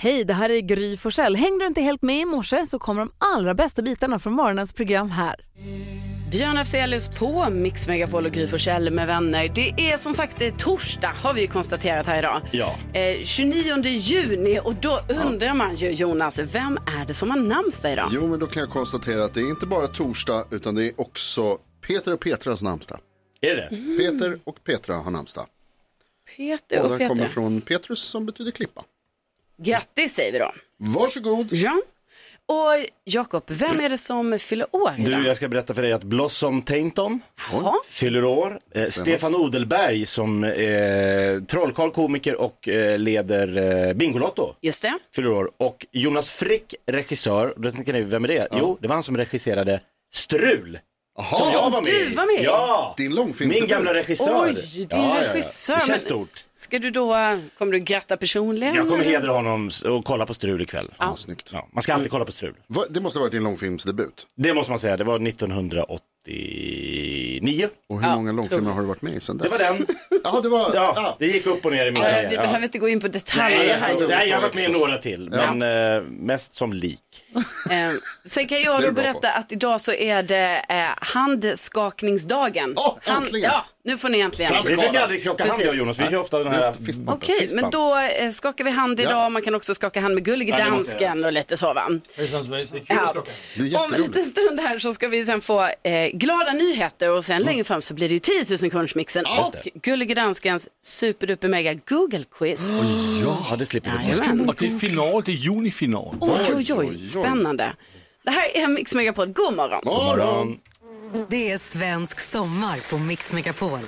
Hej, det här är Gry Forssell. Hängde du inte helt med i morse så kommer de allra bästa bitarna från morgonens program här. Björn Afzelius på Mix Megapol och Gry Forssell med vänner. Det är som sagt det är torsdag har vi ju konstaterat här idag. Ja. Eh, 29 juni och då undrar man ju Jonas, vem är det som har namnsdag idag? Jo, men då kan jag konstatera att det är inte bara torsdag utan det är också Peter och Petras namnsdag. Är det? Mm. Peter och Petra har namnsdag. Peter Och och den kommer Peter. från Petrus som betyder klippa. Grattis säger vi då. Varsågod. Ja. Och Jakob, vem är det som fyller år idag? Du, jag ska berätta för dig att Blossom Tainton Jaha. fyller år. Eh, Stefan Odelberg som eh, trollkarl, komiker och eh, leder eh, Bingolotto Just det. fyller år. Och Jonas Frick, regissör, då tänker ni, vem är det? Jo, det var han som regisserade Strul. Jaha, Som jag var med i. du var med i? Ja! din långfilm. Min gamla regissör. Oj, din Ja, ja, ja. regissör. Det Men känns stort. Ska du då, kommer du gratta personligen? Jag kommer hedra honom s- och kolla på Strul ikväll. Ja, snyggt. Ja, man ska Mm. alltid kolla på Strul. Va, det måste ha varit din långfilmsdebut. Det måste man säga, det var 1989. Och hur många långfilmer har du varit med i sen dess? Det var den. Ja, det var... Ja, Ja. det gick upp och ner i min Eh, karriär. Vi ja. behöver inte gå in på detaljer Nej, här. det jag, var nej, jag har varit med i förstås. några till, men eh, mest som lik. Eh, Sen kan jag Det är då du bra berätta att idag så är det eh, handskakningsdagen. Åh, äntligen! ja, nu får ni äntligen. Vi brukar aldrig skaka hand Precis. jag och Jonas, vi kör ofta den här Fistbump. Okej, fistbump. men då eh, skakar vi hand idag. Ja. Man kan också skaka hand med Gullige det måste jag Dansken och lite så va? Ja. Det är Om en jätteroligt. liten stund här så ska vi sen få eh, glada nyheter och sen längre fram så blir det ju 10 000 kronorsmixen och Gullige Danskens superduper mega Google quiz. Ja, det slipper vi. Jajamän. Och det är final, det är junifinal. Oj, Oj, oj, oj, oj, oj. spännande. Det här är Mix Megapod, god morgon. God morgon. Det är svensk sommar på Mix Megapol.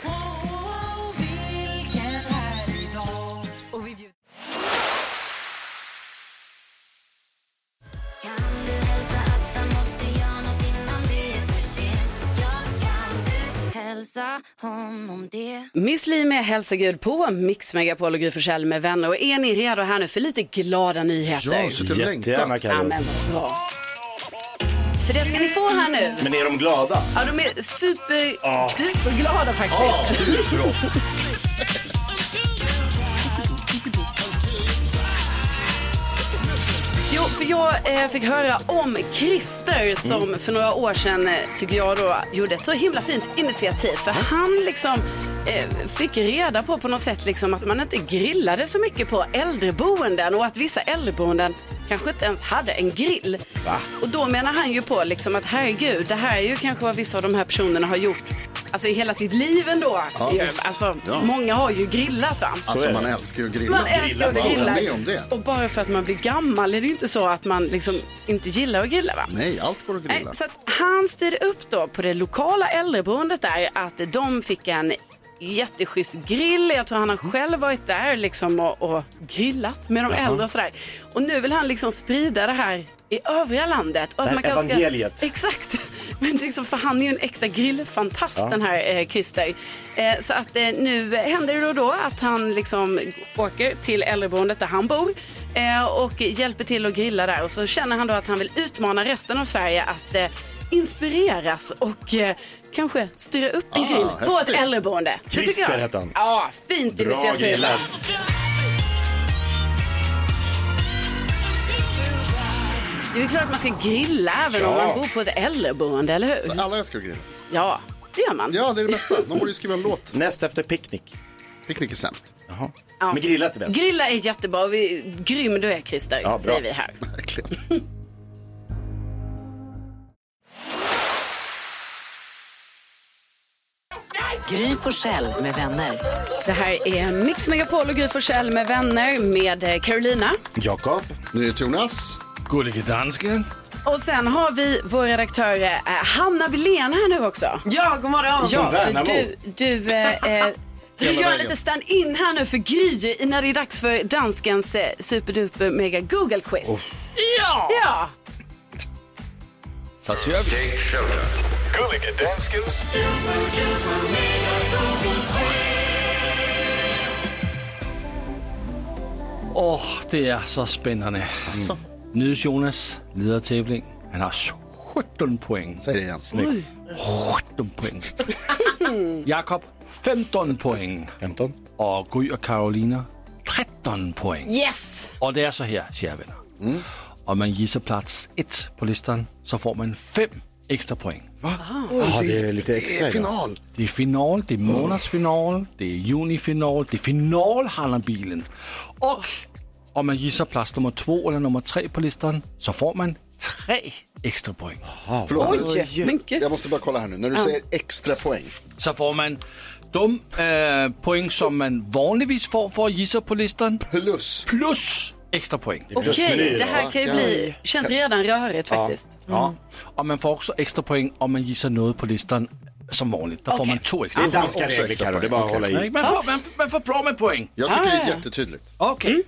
Miss Li med Hälsa Gud på Mix Megapol och Gry Forssell med vänner. Och är ni redo här nu för lite glada nyheter? Ja, så till Jättegärna längtan. Carro. Amen, vad bra. För det ska ni få här nu. Men är de glada? Ja, de är superduperglada faktiskt. Tur för oss. Jo, för jag eh, fick höra om Christer som Mm. för några år sedan, eh, tycker jag då, gjorde ett så himla fint initiativ. För Mm. han liksom eh, fick reda på på något sätt liksom att man inte grillade så mycket på äldreboenden och att vissa äldreboenden kanske inte ens hade en grill. Och då menar han ju på liksom att herregud, det här är ju kanske vad vissa av de här personerna har gjort alltså i hela sitt liv ändå. Ja, Ju, visst. alltså, Ja. många har ju grillat va. Alltså är man det. älskar ju att grilla. Man älskar att Grillar, Jag grilla. håller med om det. Och bara för att man blir gammal är det ju inte så att man liksom inte gillar att grilla va? Nej, allt går att Nej, grilla. så att han styrde upp då på det lokala äldreboendet där att de fick en jätteschysst grill. Jag tror han har själv varit där liksom och, och grillat med de äldre och sådär. Och nu vill han liksom sprida det här i övriga landet. Och Det här kanske ska- evangeliet. Exakt. Men liksom, för han är ju en äkta grillfantast den här eh, Christer. Eh, så att eh, nu eh, händer det då, och då att han liksom åker till äldreboendet där han bor eh, och hjälper till att grilla där. Och så känner han då att han vill utmana resten av Sverige att eh, inspireras och eh, kanske styra upp en Ah, grill på häftigt. ett äldreboende. Det tycker Christer jag- hette han. Ja, fint Bra initiativ. grillat. Det är ju klart att man ska grilla även om Ja. man bor på ett äldreboende, eller hur? Alla älskar att grilla. Ja, det gör man. Ja, det är det bästa. De borde ju skriva en låt. Näst efter picknick. Picknick är sämst. Jaha. Ja. Men grillat är bäst. Grilla är jättebra. Vi, grym du är Christer, bra. säger vi här. Verkligen. Gry Forssell med vänner. Det här är Mix Megapol och Gry Forssell med vänner med eh, Carolina. Jakob. Nyhet Jonas. Gullige dansken. Och sen har vi vår redaktör eh, Hanna Billén här nu också. Ja, god morgon. Från för Värnamo. du, du, eh, eh, du Hela gör vägen. lite stand-in här nu för Gry i- när det är dags för danskens eh, superduper mega Google quiz. Ja! ja! Så kör vi. Gulliga Danskens Åh, det är så spännande. Alltså. Nyhets Jonas leder tävling. Han har 17 poäng. Säg det igen. 17 poäng. Jakob 15 poäng. 15. Och Gry och Karolina 13 poäng. Yes! Och det är så här, kära vänner. Mm. Om man gissar plats ett på listan så får man fem extra poäng. Ja, det är lite extra. är idag. final. Det är final, det är månadsfinal, det är junifinal, det är final bilen. Och om man gissar plats nummer två eller nummer tre på listan så får man tre extra poäng. Förlåt, Oj, men gud. jag måste bara kolla här nu. När du säger extra poäng. Så får man de eh, poäng som man vanligtvis får för att gissa på listan Plus. plus extra poäng. Okej, plusmenyer, det här kan ju va? bli, känns redan rörigt faktiskt. Ja. Och man får också extra poäng om man gissar något på listan som vanligt. Då får man två Det extra är poäng. danska regler Carro, det är bara att hålla i. Nej, Man får, man, man får bra med poäng. Jag tycker det är jättetydligt. Okej.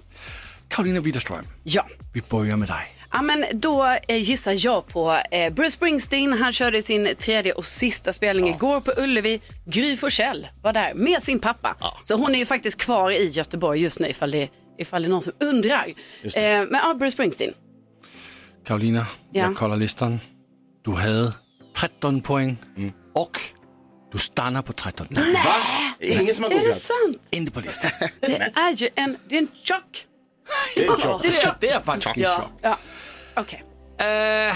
Karolina Widerström, Mm. Ja. vi börjar med dig. Ja, men då eh, gissar jag på eh, Bruce Springsteen. Han körde sin tredje och sista spelning igår på Ullevi. Gry Forssell var där med sin pappa. Så hon är ju faktiskt kvar i Göteborg just nu ifall det, ifall det är någon som undrar. Eh, men ja, Bruce Springsteen. Karolina, Ja. jag kollar listan. Du hade 13 poäng Mm. och du stannar på 13 poäng. Va? Ingen som har Är det googlat? sant? Inte på listan. Det är ju en, det är en chock. Det är en Eh, chock. det, är, det är faktiskt en chock. Ja. Okej. Uh,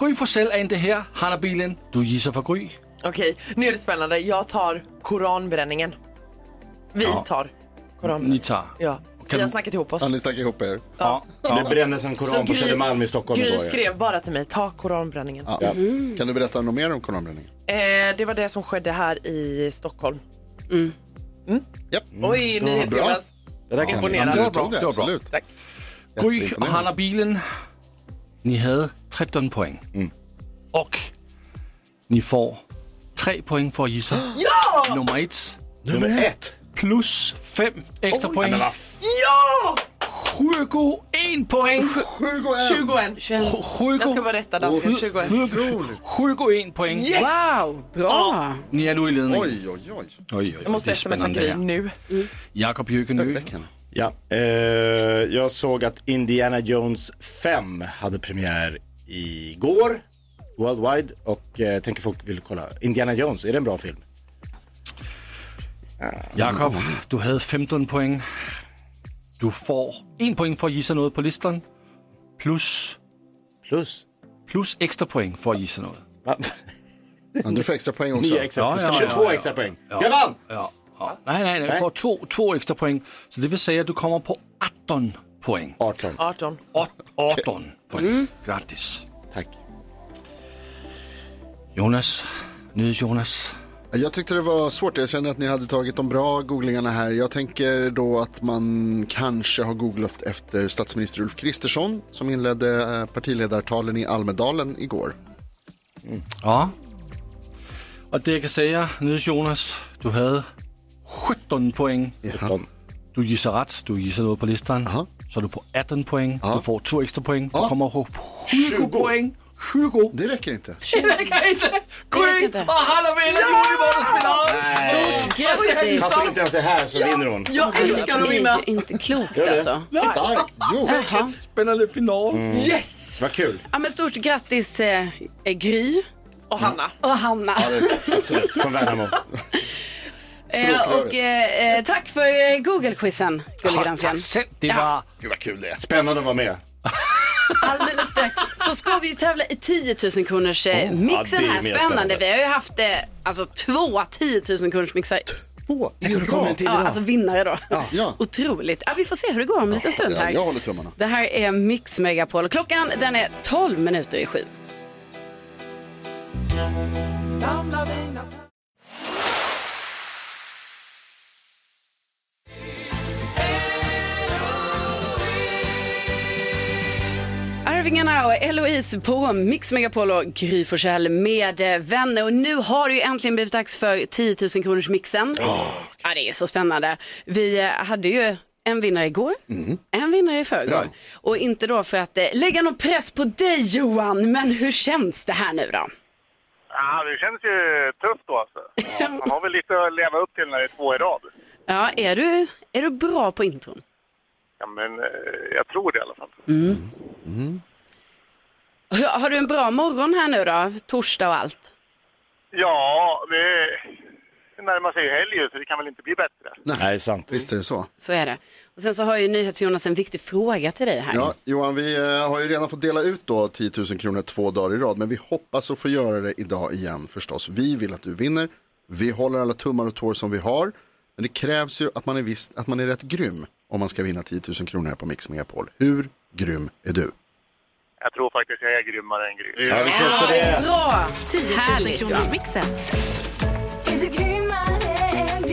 Gry Forssell är inte här. Han har bilen. Du gissar för Gry. Okej, nu är det spännande. Jag tar koranbränningen. Vi tar Ni koranbränningen. tar. Ja. Kan Vi har du- snackat ihop oss. Ja, ni stack ihop er. Det brändes en Så koran på Gry- Södermalm i Stockholm Gry igår. ja. skrev bara till mig, ta koranbränningen. Ja. Kan du berätta något mer om koranbränningen? Eh, det var det som skedde här i Stockholm. Mm. Japp. Oj, var nyhet Mm. bra. Jonas. Det där kan vi. Imponerad. Du var bra, tog det, det var bra. absolut. Tack. Gry och han har bilen. Ni hade 13 poäng. Mm. Och ni får 3 poäng för att gissa. Nummer ett Nummer ett. plus 5 extra poäng. Men vad 21 poäng. 21. 21. 21. Sjugo- Jag ska bara rätta dansken. Sju- 21. sju- 21 poäng. Yes! Wow, bra. Ni är nu i ledning. Oj, oj, oj. oj, oj. Jag måste det är smsa spännande Gry här. nu. Mm. Jakob Jöken nu. Veckan. Ja, eh, jag såg att Indiana Jones 5 hade premiär igår worldwide och eh, tänker folk vill kolla. Indiana Jones, är det en bra film? Jakob, du hade 15 poäng. Du får 1 poäng för att gissa något på listan. Plus, Plus. plus extra poäng för att gissa något. Va? Ja, du får extra poäng också. Nya extra, Ja, ja, ska ja, 22 ja, ja. extra poäng. Ja. Jag vann! Ja. ja. Nej, nej, nej. Du får två, två extra poäng. Så det vill säga att du kommer på 18 poäng. 18. 18. Åt- 18 poäng. Grattis. Tack. Jonas, nu Jonas. Jag tyckte det var svårt. Jag känner att ni hade tagit de bra googlingarna här. Jag tänker då att man kanske har googlat efter statsminister Ulf Kristersson som inledde eh, partiledartalen i Almedalen igår. Mm. Ja. Och det jag kan säga, nu Jonas, du hade 17 poäng. Ja. Du gissar rätt, du gissar något på listan. Så är du på 18 poäng, du får två extra poäng. Du kommer ihåg 20 poäng. 20! Det räcker inte. Det kan inte! Ah, räcker Queen inte. och Hanna vinner junimånadsfinalen! Stort grattis. Fast hon inte ens är här så vinner hon. Jag älskar att Det vinna! är ju inte klokt alltså. Starkt gjort. Jaha. Spännande final. Mm. Yes! Vad kul. Mm. Ja, men stort grattis eh, eh, Gry Och Hanna. och Hanna. Absolut. Från Värnamo. Eh, och eh, eh, tack för eh, Google-quizen, Gullegransken. Det var... Gud vad kul det är. Spännande att vara med. Alldeles strax så ska vi ju tävla i 10 000 kronors eh, mixen det är mer här. Spännande. spännande. Vi har ju haft eh, alltså, två 10 000 kronors mixar. Två. Är det bra? Ja, alltså vinnare då. Ja. Otroligt. Ja, vi får se hur det går om en liten stund Ja, jag här. håller tummarna. Det här är Mix Megapol. Klockan den är 12 minuter i sju. Arvingarna och Eloise på Mix Megapol och Gry Forssell med eh, vänner. Och nu har det ju äntligen blivit dags för 10 000 kronors mixen. Ja, det är så spännande. Vi eh, hade ju en vinnare igår, Mm. en vinnare i förrgår. Och inte då för att eh, lägga någon press på dig Johan, men hur känns det här nu då? Ja, det känns ju tufft då alltså. Man har väl lite att leva upp till när det är två i rad. Ja, är du, är du bra på intron? Ja, men eh, jag tror det i alla fall. Hur- Mm. Har du en bra morgon här nu då, torsdag och allt? Ja, det är närmar sig ju helg ju, så det kan väl inte bli bättre. Nej, sant. Visst är det så. Så är det. Och sen så har ju NyhetsJonas en viktig fråga till dig här. Ja, Johan, vi eh, har ju redan fått dela ut då 10 000 kronor två dagar i rad, men vi hoppas att få göra det idag igen förstås. Vi vill att du vinner. Vi håller alla tummar och tår som vi har, men det krävs ju att man är, visst, att man är rätt grym om man ska vinna 10 000 kronor här på Mix Megapol. Hur grym är du? Jag tror faktiskt jag är grymmare än grym. Ja, vi tror också det. Bra! 10 000 Härligt, kronors mixen.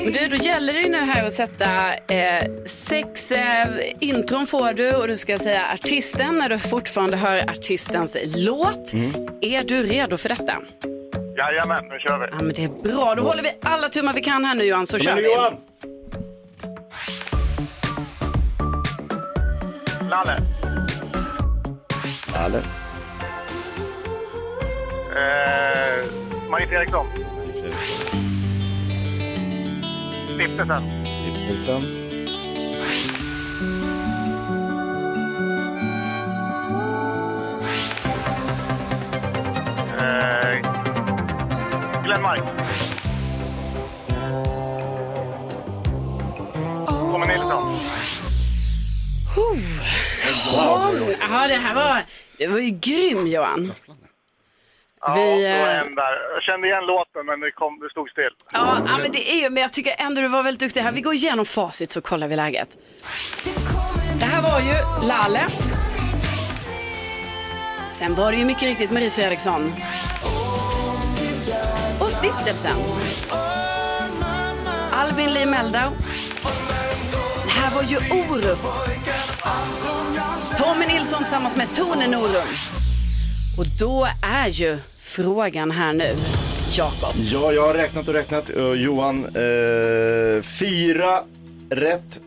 Men du, då gäller det ju nu här att sätta eh, sex eh, intron får du och du ska säga artisten när du fortfarande hör artistens låt. Mm. Är du redo för detta? Jajamän, nu kör vi. Ja, men det är bra. Då håller vi alla tummar vi kan här nu Johan, så kör Men vi. Johan! Lalle. Lalle. Eh, Marit Eriksson. Stiftelsen. Stiftelsen. Eh, Glenmark. Tommy Nilsson. Ja, det här var, det var ju grym Johan. Ja, Vi, det var eh, en där. Jag kände igen låten, men det, kom, det stod still. Ja, ja, men det är ju, men jag tycker ändå du var väldigt duktig här. Vi går igenom facit så kollar vi läget. Det här var ju Lalle. Sen var det ju mycket riktigt Marie Fredriksson. Och stiftelsen. Albin Lee Meldau. Det här var ju Orup. Tommy Nilsson tillsammans med Tone Norum. Och då är ju frågan här nu, Jakob. Ja, jag har räknat och räknat. Eh, Johan, eh, fyra rätt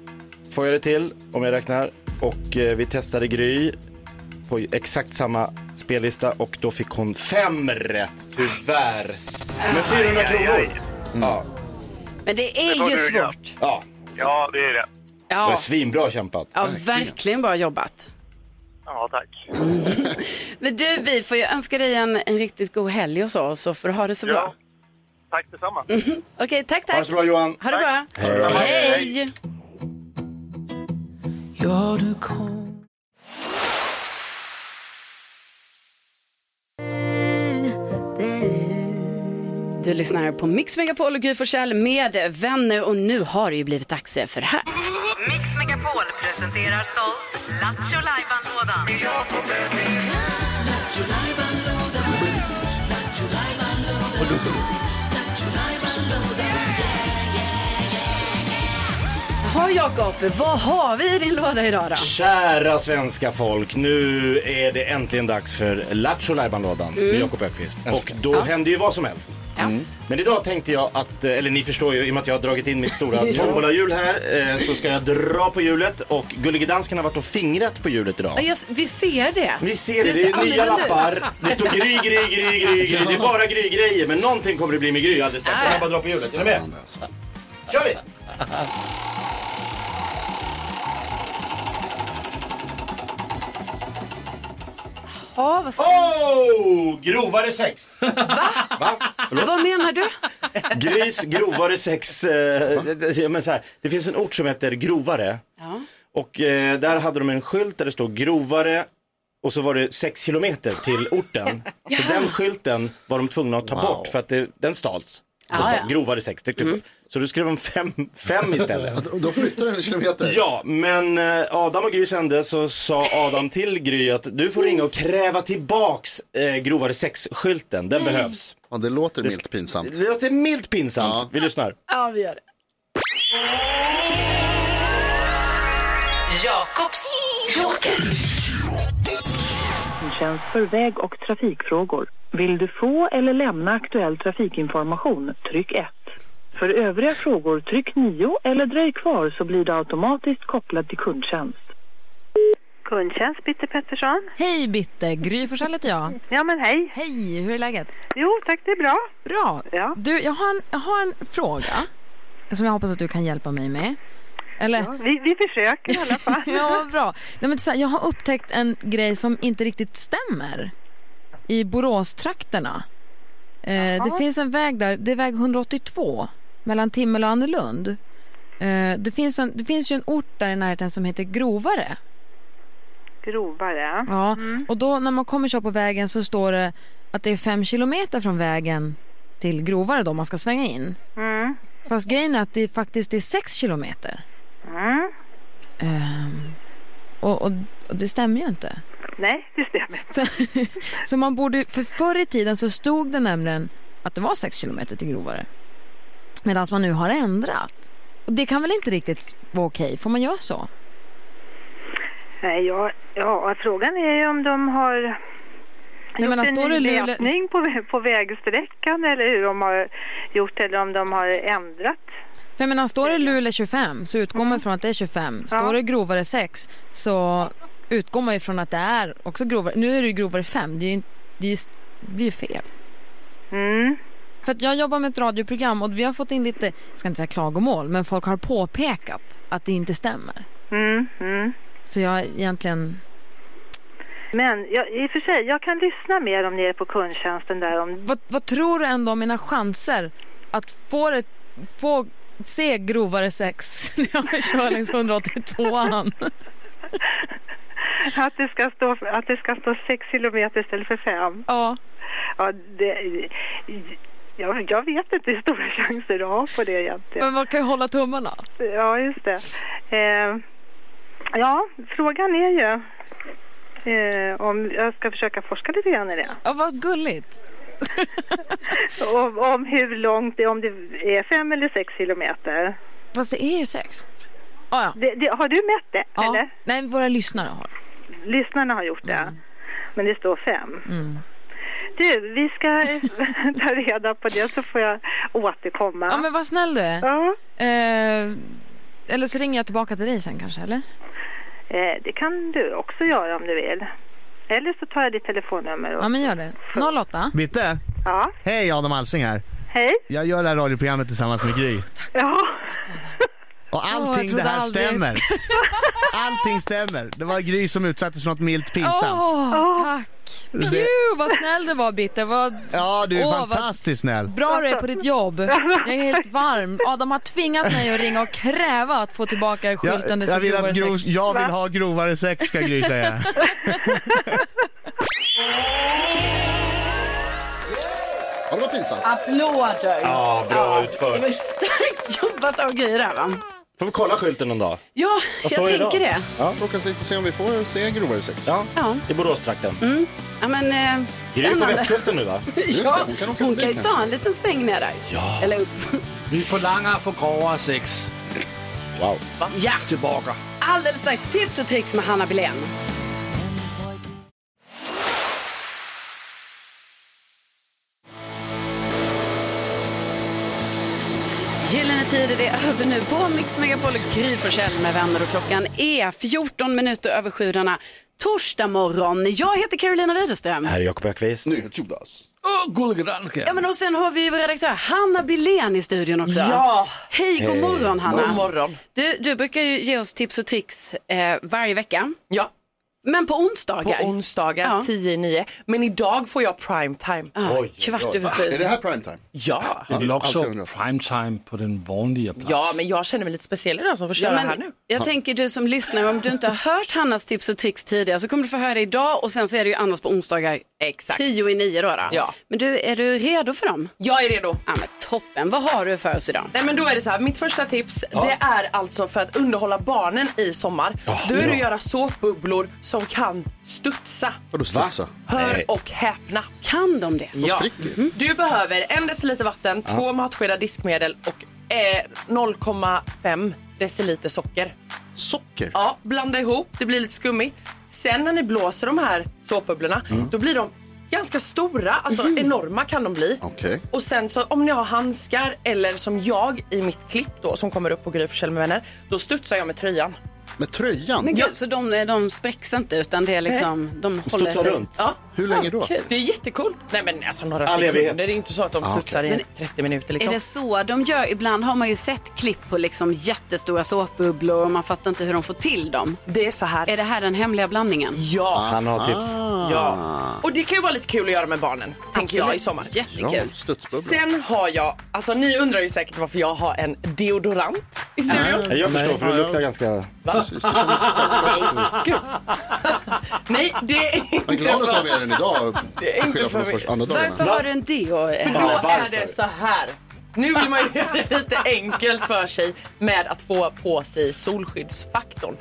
får jag det till om jag räknar. Och eh, vi testade Gry på exakt samma spellista och då fick hon fem rätt, tyvärr. Med 400 kronor. Mm. Ja, Men det är Det får ju duga. svårt. ja. Ja, det är det. Det var Ja, svinbra kämpat. ja, verkligen bra jobbat. Ja, tack. Men du, vi får ju önska dig en, en riktigt god helg och så, så får du ha det så bra. Ja. Tack detsamma. Mhm. Okej, tack, Ha det tack. så bra Johan. Ha det bra. Hej! Du lyssnar på Mix Megapol och Gry Forssell med vänner och nu har det ju blivit dags för det här. Mix Megapol presenterar stolt Lattjo Lajban-lådan. Jaha Jakob, vad har vi i din låda idag då? Kära svenska folk, nu är det äntligen dags för Lattjo Lajban-lådan Mm. med Jakob Ökvist. Och då händer ju vad som helst. Mm. Men idag tänkte jag att, eh, eller ni förstår ju, i och med att jag har dragit in mitt stora tombolahjul här, eh, så ska jag dra på hjulet och Gullige Dansken har varit och fingrat på hjulet Ja, idag. just, vi ser det. Ni ser det, Det det är ser nya annorlunda ut. lappar. Det står Gry, Gry, Gry, Gry, Gry. Det är bara Gry-grejer, men någonting kommer det bli med Gry alldeles strax. Jag kan bara dra på hjulet, är ni med? kör vi! Ja, vad, Oh! Grovare sex. Va? vad menar du? Grys grovare sex. Eh, det- det- ja, men så här, det finns en ort som heter Grovare. Ja. Och eh, där hade de en skylt där det stod Grovare och så var det sex kilometer till orten. Så den skylten var de tvungna att ta bort för att det, den stals. Det Ah, stod ja. Mm. Grovare sex. tyckte de. Så du skrev de fem, fem istället. Då- Då flyttar du en kilometer. Ja, men eh, Adam och Gry kände så sa Adam till Gry att du får ringa och kräva tillbaks eh, Grovare sex-skylten. Mm. Den behövs. Ja, det låter milt pinsamt. Det låter milt pinsamt. Vi lyssnar. Ja, vi gör det. Jakobs joker. Tjänst för väg och trafikfrågor. Vill du få eller lämna aktuell trafikinformation, tryck 1. För övriga frågor, tryck 9 eller dröj kvar så blir du automatiskt kopplad till kundtjänst. Kundtjänst, Bitte Pettersson. Hej Bitte, Gry Forssell heter jag. Ja, men hej. Hej, hur är läget? Jo, tack, det är bra. Bra. Ja. Du, jag har, en, jag har en fråga som jag hoppas att du kan hjälpa mig med. Eller? Vi, vi försöker i alla fall. Ja, vad bra. Nej, men så här, jag har upptäckt en grej som inte riktigt stämmer i Boråstrakterna. Eh, det finns en väg där, det är väg 182. mellan Timmel och Annelund. Eh, det, finns en, det finns ju en ort där i närheten som heter Grovare. Grovare. Ja, Mm. och då när man kommer så på vägen så står det att det är fem kilometer från vägen till Grovare då man ska svänga in. Mm. Fast grejen är att det faktiskt är sex kilometer. Mm. Ehm, och, och, och det stämmer ju inte. Nej, det stämmer. Så, så man borde, för förr i tiden så stod det nämligen att det var sex kilometer till Grovare. Medan man nu har ändrat. Och det kan väl inte riktigt vara okej? Får man göra så? Nej, ja, ja, frågan är ju om de har gjort menar, en alltså, står det ny Luleå- mätning på, vä- på vägsträckan eller hur de har gjort eller om de har ändrat. För jag menar, står det Luleå 25 så utgår man från att det är 25. Står Ja. det Grovare 6 så utgår man ju från att det är också Grovare. Nu är det ju Grovare 5. Det, är ju, inte- det, är ju, det blir ju fel. För att jag jobbar med ett radioprogram och vi har fått in lite, jag ska inte säga klagomål, men folk har påpekat att det inte stämmer. Mm, mm. Så jag egentligen... Men jag, i och för sig, jag kan lyssna mer om ni är på kundtjänsten där om Vad, vad tror du ändå om mina chanser att få, det, få se grovare sex när jag kör liksom längs 182an? att det ska stå, att det ska stå sex kilometer istället för fem. Ja. ja det, jag, jag vet inte hur stora chanser du har på det egentligen. Men man kan ju hålla tummarna. Ja, just det. Eh, ja, frågan är ju eh, om jag ska försöka forska lite grann i det. Ja, vad gulligt. om, om hur långt det om det är fem eller sex kilometer. Fast det är ju sex. Ah, ja. det, det, har du mätt det? Ja. Eller? Nej, våra lyssnare har. Lyssnarna har gjort det. Men det står fem. Mm. Du, vi ska ta reda på det så får jag återkomma. Ja, men vad snäll du är. Ja. Eh, eller så ringer jag tillbaka till dig sen kanske, eller? Eh, det kan du också göra om du vill. Eller så tar jag ditt telefonnummer. Och... Ja, men gör det. 08. Bitte? Ja. Hej, Adam Alsing här. Hej. Jag gör det här radioprogrammet tillsammans med Gry. Ja. Och jag allting det trodde här aldrig. stämmer. Allting stämmer. Det var Gry som utsattes för något milt pinsamt. Åh, tack. Det- Gud, vad snäll du var, Bitter. Vad... Ja, du är Åh, vad fantastiskt snäll. Bra du är på ditt jobb. Jag är helt varm. Adam har tvingat mig att ringa och kräva att få tillbaka skylten. Jag, det jag, står vill att grovare grov, sex. jag vill ha grovare sex ska Gry säga. Ja, det var pinsamt. Applåder. Ja, bra utfört. Det var ju starkt jobbat av Gry där va? Får vi kolla skylten någon dag? Ja, Vad jag står det tänker idag? det. Ja. Klockan lite se om vi får se grovare sex. Ja, Ja. i Boråstrakten. Mm. Ja, men, eh, Gry är på spännande. västkusten nu va? ja, hon kan, ju ta en liten sväng ner där. Ja. Eller upp. Vi forlanger at få grovere sex. Wow. Ja. Tilbage. Alldeles strax tips och tricks med Hanna Billén. Gyllene tider det är över nu på Mix Megapol och Gry Forssell med vänner och klockan är 14 minuter över sju denna torsdag morgon. Jag heter Carolina Widerström. Här är Jakob Ökvist. Jonas. Åh, gullige dansken. Ja, men och sen har vi ju vår redaktör Hanna Billén i studion också. Ja. Hej, god Hej. morgon Hanna. God morgon. Du, du brukar ju ge oss tips och tricks eh, varje vecka. Ja. Men på onsdagar. På onsdagar Ja. 10 i 9. Men idag får jag prime time. Oj, Är det här primetime? Ja. Det är också Alltid undrat. primetime på den vanliga plats. Ja, men jag känner mig lite speciell idag som får köra här nu. Jag tänker du som lyssnar, om du inte har hört Hannas tips och tricks tidigare så kommer du få höra det idag och sen så är det ju annars på onsdagar Exakt. 10 i 9 då. då. Ja. Men du, är du redo för dem? Jag är redo. Ja, men toppen, vad har du för oss idag? Nej men då är det så här, mitt första tips det är alltså för att underhålla barnen i sommar. då är det att göra såpbubblor som kan studsa. Vadå studsa? Hör Nej. och häpna. Mm. Kan de det? De spricker. Du behöver en deciliter vatten, Ja. två matskedar diskmedel och eh, 0,5 deciliter socker. Socker? Ja, blanda ihop. Det blir lite skummigt. Sen när ni blåser de här såpbubblorna, Mm. då blir de ganska stora. Alltså Mhm. enorma kan de bli. Okej. Och sen så om ni har handskar eller som jag i mitt klipp då som kommer upp på Gry Forssell med vänner, då studsar jag med tröjan. Med tröjan? Men gud, så de, eh, de spräcks inte utan det är liksom, de håller sig. Ja. Hur länge då? kul. Det är jättekult. Nej men alltså några All evighet. sekunder. Det är inte så att de Ah, studsar okej. i 30 minuter liksom. Är det så de gör? Ibland har man ju sett klipp på liksom jättestora såpbubblor och man fattar inte hur de får till dem. Det är så här. Är det här den hemliga blandningen? Ja. Han har tips. Ah. Ja. Och det kan ju vara lite kul att göra med barnen, tänker jag i sommar. Jättekul. Sen har jag, alltså ni undrar ju säkert varför jag har en deodorant i studion. Nej, Jag förstår, för du luktar ganska... Va? Precis, det kändes självklart. Nej, gud. Nej, det är inte Vad glad att för- de är den idag. Det är till inte skillnad från för de mig. första- andra dagarna. Varför har du en deo? För då är det så här. Nu vill man ju göra det lite enkelt för sig med att få på sig solskyddsfaktorn.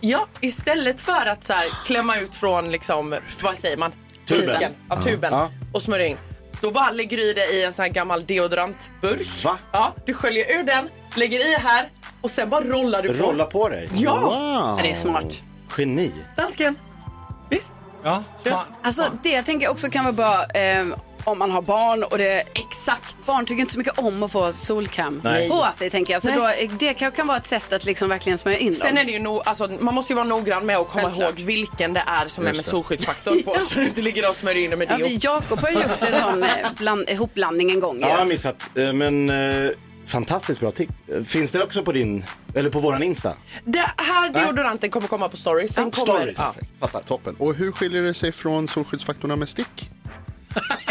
Ja, istället för att så här, klämma ut från, liksom, vad säger man? Tuben. Piken. Ja, Ja. tuben. Ja. Och smörja in. Då bara lägger du i det i en sån här gammal deodorantburk. Va? Ja, du sköljer ur den, lägger i här och sen bara rollar du på. Rolla på dig. Ja. Wow. Det är smart. Geni. Dansken. Visst? Ja. Alltså det jag tänker också kan vara bra eh, om man har barn och det exakt. Barn tycker inte så mycket om att få solkräm Nej. på sig tänker jag. Så Nej. då, eh, det kan, kan vara ett sätt att liksom verkligen smörja in Sen dem. är det ju nog, alltså, man måste ju vara noggrann med att komma Självklart. ihåg vilken det är som är Just med det. solskyddsfaktor på. Ja. Så du inte ligger och smörjer in det med Ja, deo. vi- Jakob har ju gjort en sån eh, bland, ihopblandning en gång. ju. Ja, jag har missat. Eh, Men eh, fantastiskt bra tips. Eh, Finns det också på din, eller på våran Insta? Det här Nej. deodoranten kommer komma på stories. Den kommer, Stories. ja. Fattar. Toppen. Och hur skiljer det sig från solskyddsfaktorerna med stick? De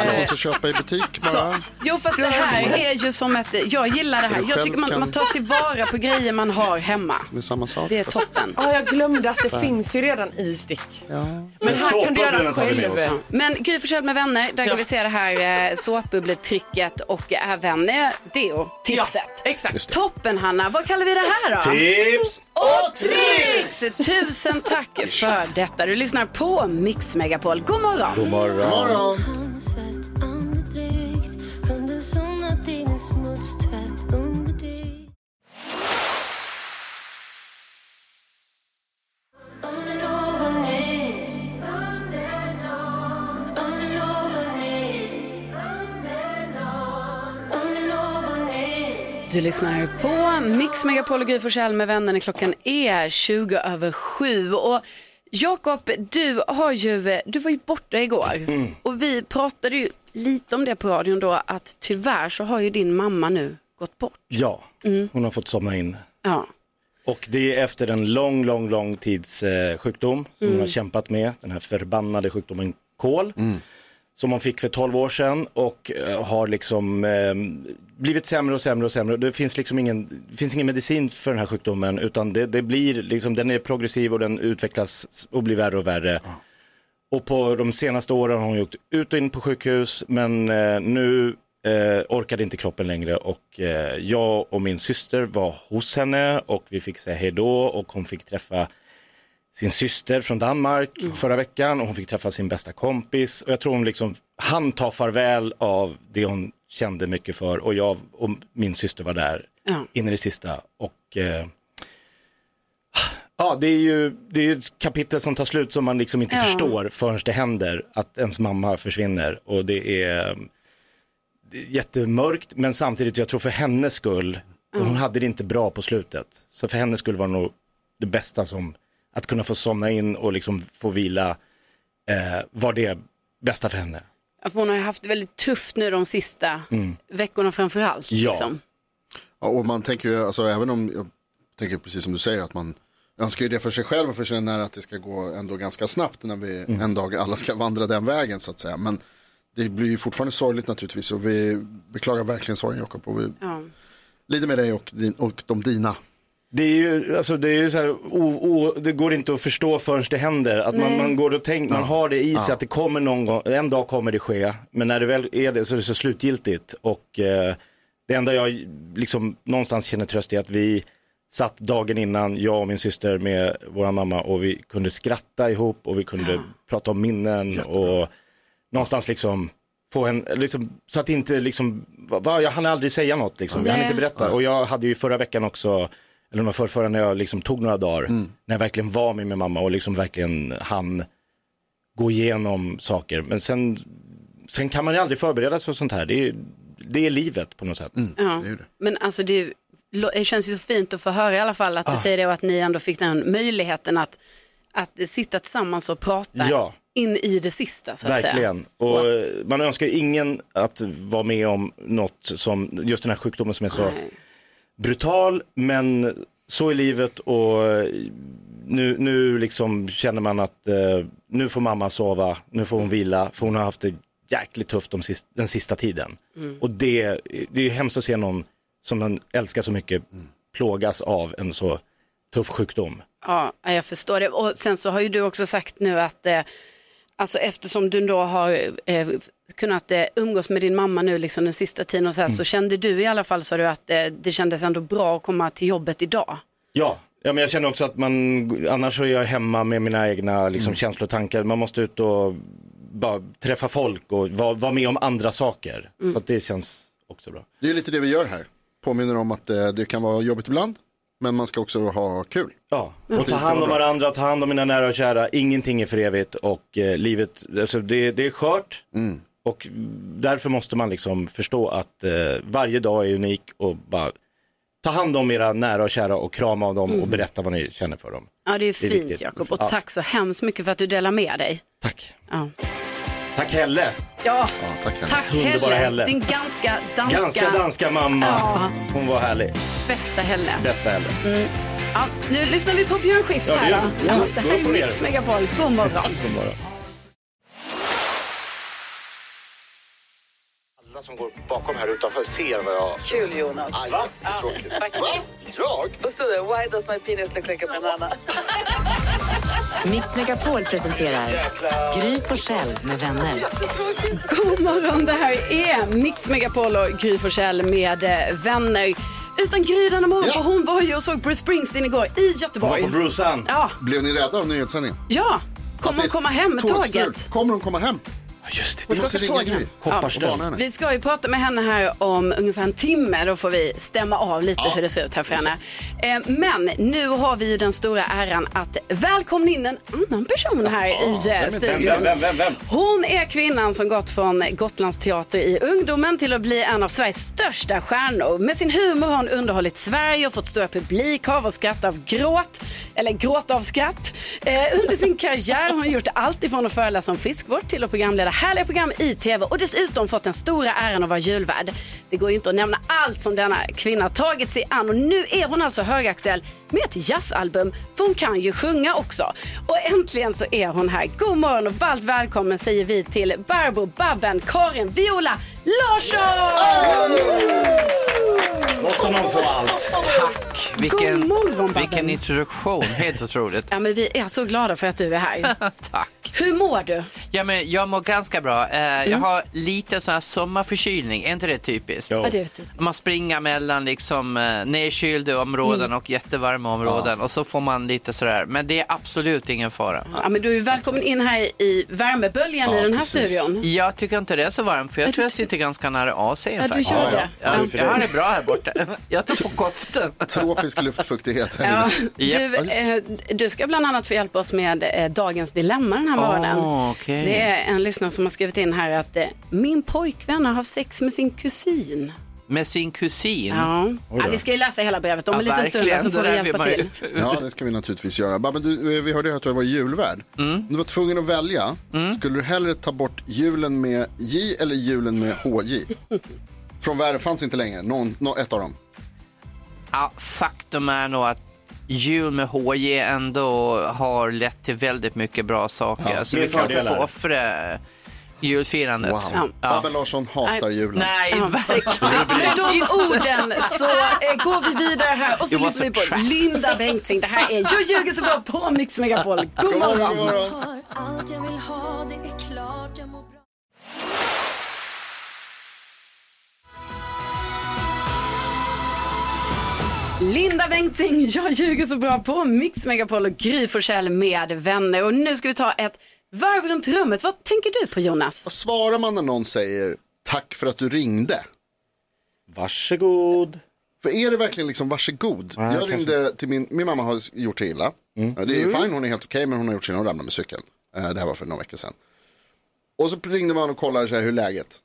som Eh, finns att köpa i butik bara. Jo fast det här är ju som ett, jag gillar det här. Jag tycker man, man tar tillvara på grejer man har hemma. Det är samma sak. Det är toppen. Ja, jag glömde att det Fan. finns ju redan i stick. Men här såpbubblan kan du göra tar vi med själv. oss. Men Gry Forssell med vänner, där kan vi se det här eh, såpbubbletricket och även eh, deo-tipset. exakt. Toppen Hanna, vad kallar vi det här då? Mm. Tips och tricks! Tusen tack för detta. Du lyssnar på Mix Megapol. God morgon! God morgon. God morgon. Du lyssnar på Mix Megapol och Gry Forssell med vänner. Klockan är 20 över 7. Och Jakob, du, har ju, du var ju borta igår och vi pratade ju lite om det på radion då att tyvärr så har ju din mamma nu gått bort. Ja, Mm. hon har fått somna in. Ja. Och det är efter en lång, lång, lång tids eh, sjukdom som hon Mm. har kämpat med, den här förbannade sjukdomen kol. Som hon fick för 12 år sedan och eh, har liksom eh, blivit sämre och sämre och sämre. Det finns liksom ingen, det finns ingen medicin för den här sjukdomen utan det, det blir liksom, den är progressiv och den utvecklas och blir värre och värre. Och på de senaste åren har hon gjort ut och in på sjukhus men eh, nu eh, orkade inte kroppen längre och eh, jag och min syster var hos henne och vi fick säga hej då och hon fick träffa sin syster från Danmark förra veckan och hon fick träffa sin bästa kompis och jag tror hon liksom han tar farväl av det hon kände mycket för och jag och min syster var där in i det sista och eh, Ja, det är ju det är ju ett kapitel som tar slut som man liksom inte Ja. förstår förrän det händer att ens mamma försvinner och det är, det är jättemörkt men samtidigt jag tror för hennes skull, hon hade det inte bra på slutet, så för hennes skull var det nog det bästa som att kunna få somna in och liksom få vila eh, var det bästa för henne. Ja, för Hon har ju haft det väldigt tufft nu de sista Mm. veckorna framför allt. Ja. Liksom. Ja, och man tänker ju, alltså även om, jag tänker precis som du säger, att man önskar ju det för sig själv och för sina nära att det ska gå ändå ganska snabbt när vi Mm. en dag alla ska vandra den vägen så att säga. Men det blir ju fortfarande sorgligt naturligtvis och vi beklagar verkligen sorgen Jakob och vi Ja. lider med dig och, din, och de dina. Det är ju, alltså det är ju så här, o, o, det går inte att förstå förrän det händer. Att man, Nej. man går och tänker, man har det i sig Ja. att det kommer någon gång, en dag kommer det ske. Men när det väl är det så är det så slutgiltigt. Och eh, det enda jag liksom någonstans känner tröst i att vi satt dagen innan, jag och min syster med vår mamma och vi kunde skratta ihop och vi kunde prata om minnen och någonstans liksom få en, liksom, så att inte liksom, va, va, jag hann aldrig säga något liksom, jag hann Nej. inte berätta. Och jag hade ju förra veckan också, eller var förra, förra när jag liksom tog några dagar, när jag verkligen var med min mamma och liksom verkligen hann gå igenom saker. Men sen, sen kan man ju aldrig förbereda sig för sånt här, Mm. det är, det är livet på något sätt. Ja. Men alltså det är ju lo- det känns ju så fint att få höra i alla fall att Ah. du säger det och att ni ändå fick den möjligheten att, att sitta tillsammans och prata Ja. in i det sista så att Verkligen. säga. Och eh, man önskar ju ingen att vara med om något som, just den här sjukdomen som är så brutal, men så är livet och eh, nu, nu liksom känner man att eh, nu får mamma sova, nu får hon vila, för hon har haft det jäkligt tufft de sist, den sista tiden. Mm. Och det, det är ju hemskt att se någon som man älskar så mycket plågas av en så tuff sjukdom. Ja, ja, jag förstår det. Och sen så har ju du också sagt nu att eh, alltså eftersom du då har eh, kunnat eh, umgås med din mamma nu liksom den sista tiden och så, här, Mm. så kände du i alla fall så du att eh, det kändes ändå bra att komma till jobbet idag. Ja, ja men jag känner också att man, annars så är jag hemma med mina egna liksom, Mm. känslor och tankar. Man måste ut och bara träffa folk och vara vara med om andra saker. Mm. Så att det känns också bra. Det är lite det vi gör här. Påminner om att eh, det kan vara jobbigt ibland, men man ska också ha kul. Ja, Mm. Ja. och ta hand om varandra, ta hand om mina nära och kära. Ingenting är för evigt och eh, livet, alltså det, det är skört. Mm. Och därför måste man liksom förstå att eh, varje dag är unik och bara ta hand om era nära och kära och krama om dem och berätta vad ni känner för dem. Mm. Ja, det är ju Det är fint viktigt. Jakob och Ja. tack så hemskt mycket för att du delar med dig. Ja. Tack Helle! Ja, tack tack Underbara Helle. Din ganska danska, Ganska danska mamma. Ja. Hon var härlig. bästa Helle. Bästa Helle. Mm. Ja, nu lyssnar vi på Björn Skifs Ja, det här. gör då. vi. Ja, Gå- gå det här är upp och ner. Mix Megapol. God morgon. God morgon. Alla som går bakom här utanför ser vad jag... Kul Jonas. Aj, Va? Ja, Tråkigt. Faktiskt. Jag? Då stod det, why does my penis look like a banana? Mix Megapol presenterar Gry Forssell med vänner. God morgon, det här är Mix Megapol och Gry Forssell med eh, vänner. Utan Gry denna morgon, för hon var ju och såg Bruce Springsteen igår i Göteborg. Brucean. Ja. Blev ni rädda av nyhetssändningen? Ja, kommer hon komma hem med Tågstrul. tåget? Kommer hon komma hem? Just Hon ska ta tåget hem. Kopparström. Ja. Vi ska ju prata med henne här om ungefär en timme. Då får vi stämma av lite hur det ser ut här för henne. Eh, Men nu har vi ju den stora äran att välkomna in en annan person här i eh, vem, studion. vem, vem, vem, vem? Hon är kvinnan som gått från Gotlandsteater i ungdomen till att bli en av Sveriges största stjärnor. Med sin humor har hon underhållit Sverige och fått stora publikhav och skratt av gråt, eller gråt av skratt. Eh, under sin karriär har hon gjort allt ifrån att föreläsa om friskvård till att programleda härliga program i tv och dessutom fått den stora äran att vara julvärd. Det går ju inte att nämna allt som denna kvinna tagit sig an och nu är hon alltså högaktuell med ett jazzalbum, för hon kan ju sjunga också. Och äntligen så är hon här. God morgon och varmt välkommen säger vi till Barbro, Babben, Karin, Viola, Larsson! Måste någon få allt? Tack! Vilken, God morgon, Babben. vilken introduktion, helt otroligt. Ja, men vi är så glada för att du är här. Tack. Hur mår du? Ja, men jag mår ganska bra. Eh, Jag Mm. har lite sån här sommarförkylning, är inte det typiskt? Ja, det är typiskt. Man springer mellan liksom eh, nedkylda områden Mm. och jättevarma områden och så får man lite sådär, men det är absolut ingen fara. Ja, men du är ju välkommen in här i värmeböljan i den här studion. Jag tycker inte det är så varmt för jag tror jag sitter ganska nära Asien Ja, du faktiskt. gör det. Ja, Ja. jag har det bra här borta. Jag tar på koftan. Tropisk luftfuktighet. Ja, Japp. du, eh, du ska bland annat få hjälpa oss med eh, dagens dilemma den här morgonen. Åh, Ah, okej. Det är en lyssnare som har skrivit in här att eh, min pojkvän har haft sex med sin kusin. Med sin kusin? Ja. Ja, vi ska ju läsa hela brevet om Ja, en liten stund verkligen. så Det får vi där vill hjälpa man ju- till. Ja, det ska vi naturligtvis göra. Babben, du, eh, vi hörde ju att du var julvärd. Du var tvungen att välja. Skulle du hellre ta bort julen med J eller julen med HJ? Från världen fanns inte längre, någon, nå- ett av dem. Ja, faktum är nog att jul med HJ ändå har lett till väldigt mycket bra saker. Ja, så med vi kanske fördelar. får offra julfirandet. Wow. Babben Larsson hatar julen. Nej, Med de orden så eh, går vi vidare här och så Det var lyssnar vi så på trash. Linda Bengtzing. Det här är Jag ljuger så bra på Mix Megapol. God God morgon, morgon! god morgon. Allt jag vill ha, det är klart jag mår bra Linda Bengtzing, jag ljuger så bra på Mix Megapol och Gry Forssell med vänner. Och nu ska vi ta ett varv runt rummet. Vad tänker du på Jonas? Vad svarar man när någon säger tack för att du ringde? Varsågod. För är det verkligen liksom varsågod? Nej, jag kanske ringde till min, min mamma har gjort sig illa. Ja, Det är ju Mm. fine, hon är helt okej, men hon har gjort sig illa, hon ramlade med cykeln. Eh, Det här var för några veckor sedan. Och så ringde man och kollade så här, hur är läget?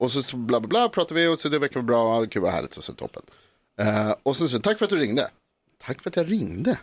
Och så bla bla bla pratade vi och så det verkar bra, kul vad härligt och så toppen. Eh, och sen så, tack för att du ringde. Tack för att jag ringde.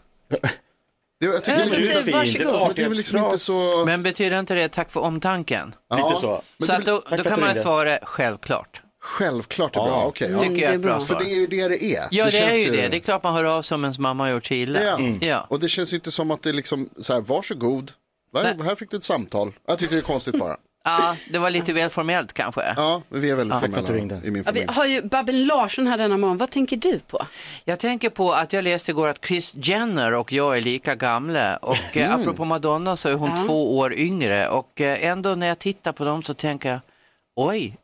Det, jag tycker Ja, det är precis. lite fint. Varsågod. Det är väl liksom inte så... Men betyder inte det tack för omtanken? Ja. Lite så. Men Så det- att då, tack för då att kan du man ringde. svara självklart. Självklart är Ja. bra, okej. Tycker jag är ett bra svar. För Mm, det är ju det det är. Ja, det, är känns ju det. Det är klart man hör av sig om ens mamma har gjort sig illa. Ja. Ja. Och det känns ju inte som att det är liksom så här, varsågod, här, här fick du ett samtal. Jag tycker det är konstigt bara. ja, det var lite väl formellt kanske. Ja, vi är väldigt Tack för formella att du ringde. i min Ja, vi familj. har ju Babben Larsson här denna morgon. Vad tänker du på? Jag tänker på att jag läste igår att Chris Jenner och jag är lika gamla och eh, Mm. apropå Madonna så är hon Ja. två år yngre och eh, ändå när jag tittar på dem så tänker jag Oj,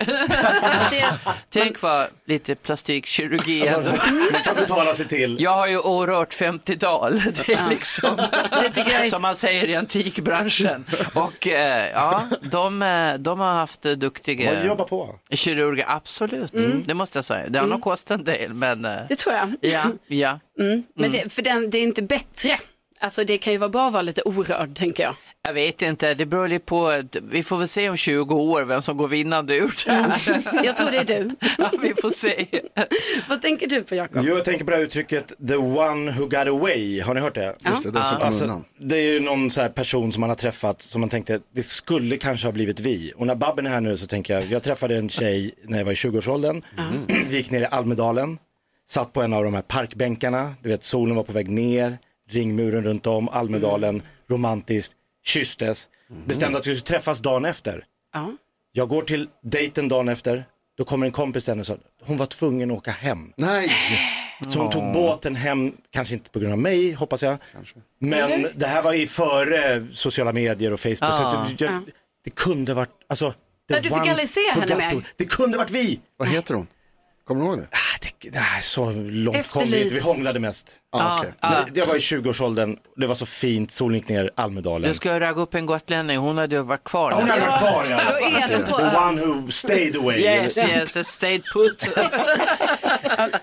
tänk vad lite plastikkirurgi ändå. Man kan betala sig till. Jag har ju orört 50-tal, det är liksom Det tycker jag är- som man säger i antikbranschen. Och eh, ja, de, eh, de har haft eh, duktiga De har jobbat på. kirurger, absolut. Mm. Det måste jag säga. Det har Mm. nog kostat en del, men eh, Det tror jag. ja, ja. Mm. Men Mm. det, för den, det är inte bättre. Alltså det kan ju vara bra att vara lite orörd tänker jag. Jag vet inte, det beror lite på. Vi får väl se om 20 år vem som går vinnande ur det här. Jag tror det är du. Ja, vi får se. Vad tänker du på Jakob? Jag tänker på det här uttrycket the one who got away. Har ni hört det? Just det, den som kom alltså, undan. det är ju någon så här person som man har träffat som man tänkte det skulle kanske ha blivit vi. Och när Babben är här nu så tänker jag, jag träffade en tjej när jag var i 20-årsåldern. Mm. Vi gick ner i Almedalen, satt på en av de här parkbänkarna. Du vet solen var på väg ner, ringmuren runt om, Almedalen, romantiskt, kysstes. Mm. Bestämde att vi skulle träffas dagen efter. Ja. Jag går till dejten dagen efter, då kommer en kompis till henne och sa, hon var tvungen att åka hem. Nej! Så hon tog Ja. båten hem, kanske inte på grund av mig, hoppas jag. Men Eller? Mm-hmm. det här var ju före sociala medier och Facebook. Ja. Så att jag, Ja. Det kunde varit, alltså. Ja, du fick aldrig se henne mer. Det kunde varit vi. Ah, Vad heter hon? Kommer du ihåg det? Nej, så långt kom vi inte. Efterlys. Vi hånglade mest. Ah, okej. Ah, ah. Men Jag var i 20-årsåldern, det var så fint, solen gick ner, Almedalen. Du ska jag ragga upp en gotlänning, hon hade ju varit kvar. Hon hade varit kvar, ja. Då är den på The ön. one who stayed away. Yes, yes, stayed put.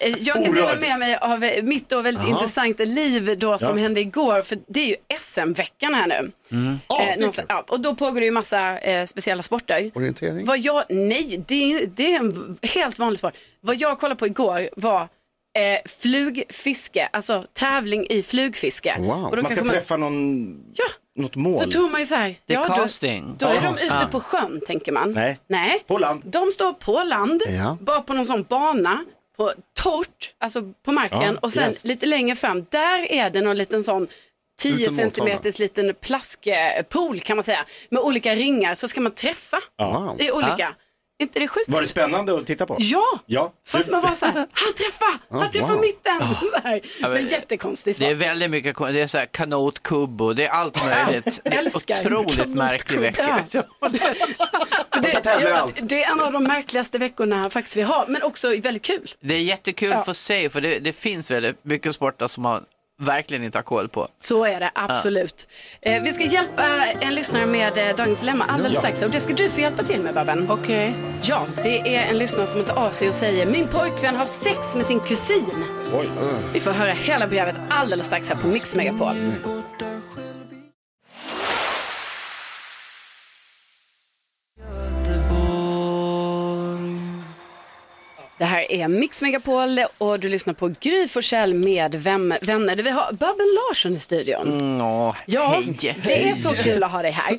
Eh, Jag kan dela Orörd. med mig av eh, mitt då väldigt Jaha. intressant liv då som Ja. hände igår. För det är ju SM-veckan här nu. Mm. Eh, någonstans- ja, och då pågår det ju massa eh, speciella sporter. Orientering? Vad jag, nej, det är, det är en helt vanlig sport. Vad jag kollade på igår var eh, flugfiske, alltså tävling i flugfiske. Wow. Och då Man ska kanske träffa någon, något mål. Då tror man ju så här, Det är då- casting. Då, är de Ja. ute Ah. på sjön tänker man. Nej. nej. På land. De står på land, Ja. bara på någon sån bana, på torrt, alltså på marken Ja, och sen yes. lite längre fram, där är det någon liten sån 10 Utan måltavla. centimeters liten plaskpool kan man säga, med olika ringar, så ska man träffa. Ja. Det är olika. Är inte det sjukt? Var det spännande att titta på? Ja! ja. För att man var så här, han träffar, Ja, Oh, han träffar Oh, wow. mitten. Så här. Ja, men- Men jättekonstigt. Det är väldigt mycket, det är så här kanotkubb och det är allt möjligt. Det är älskar. otroligt märklig vecka. Ja. Det, tävlar i ja, allt. det är en av de märkligaste veckorna faktiskt vi har, men också väldigt kul. Det är jättekul Ja. för sig, för det, det finns väldigt mycket sporter som man verkligen inte har koll på. Så är det, absolut. Eh, vi ska hjälpa en lyssnare med eh, Dagens Dilemma alldeles Ja. strax och det ska du få hjälpa till med Babben. Okej. Ja, det är en lyssnare som har tagit av sig och säger min pojkvän har sex med sin kusin. Oj. Vi får höra hela brevet alldeles strax här på Mix Megapol. Det här är Mix Megapol och du lyssnar på Gry Forssell med Vem vänner? Vi har Babben Larsson i studion. Nå, Ja, hej. det är så kul att ha dig här.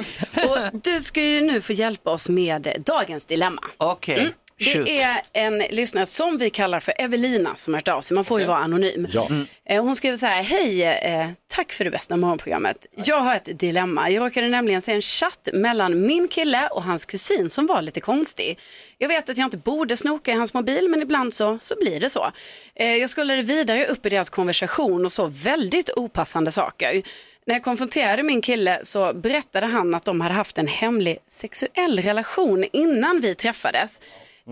Och du ska ju nu få hjälpa oss med dagens dilemma. Mm. Okej, shoot. Det är en lyssnare som vi kallar för Evelina som har hört av sig. Man får ju vara anonym. Ja. Mm. Eh, Hon skriver så här, hej, eh, tack för det bästa morgonprogrammet. Jag har ett dilemma. Jag råkade nämligen se en chatt mellan min kille och hans kusin som var lite konstig. Jag vet att jag inte borde snoka i hans mobil, men ibland så, så blir det så. Eh, Jag skulle vidare upp i deras konversation och så väldigt opassande saker. När jag konfronterade min kille så berättade han att de hade haft en hemlig sexuell relation innan vi träffades.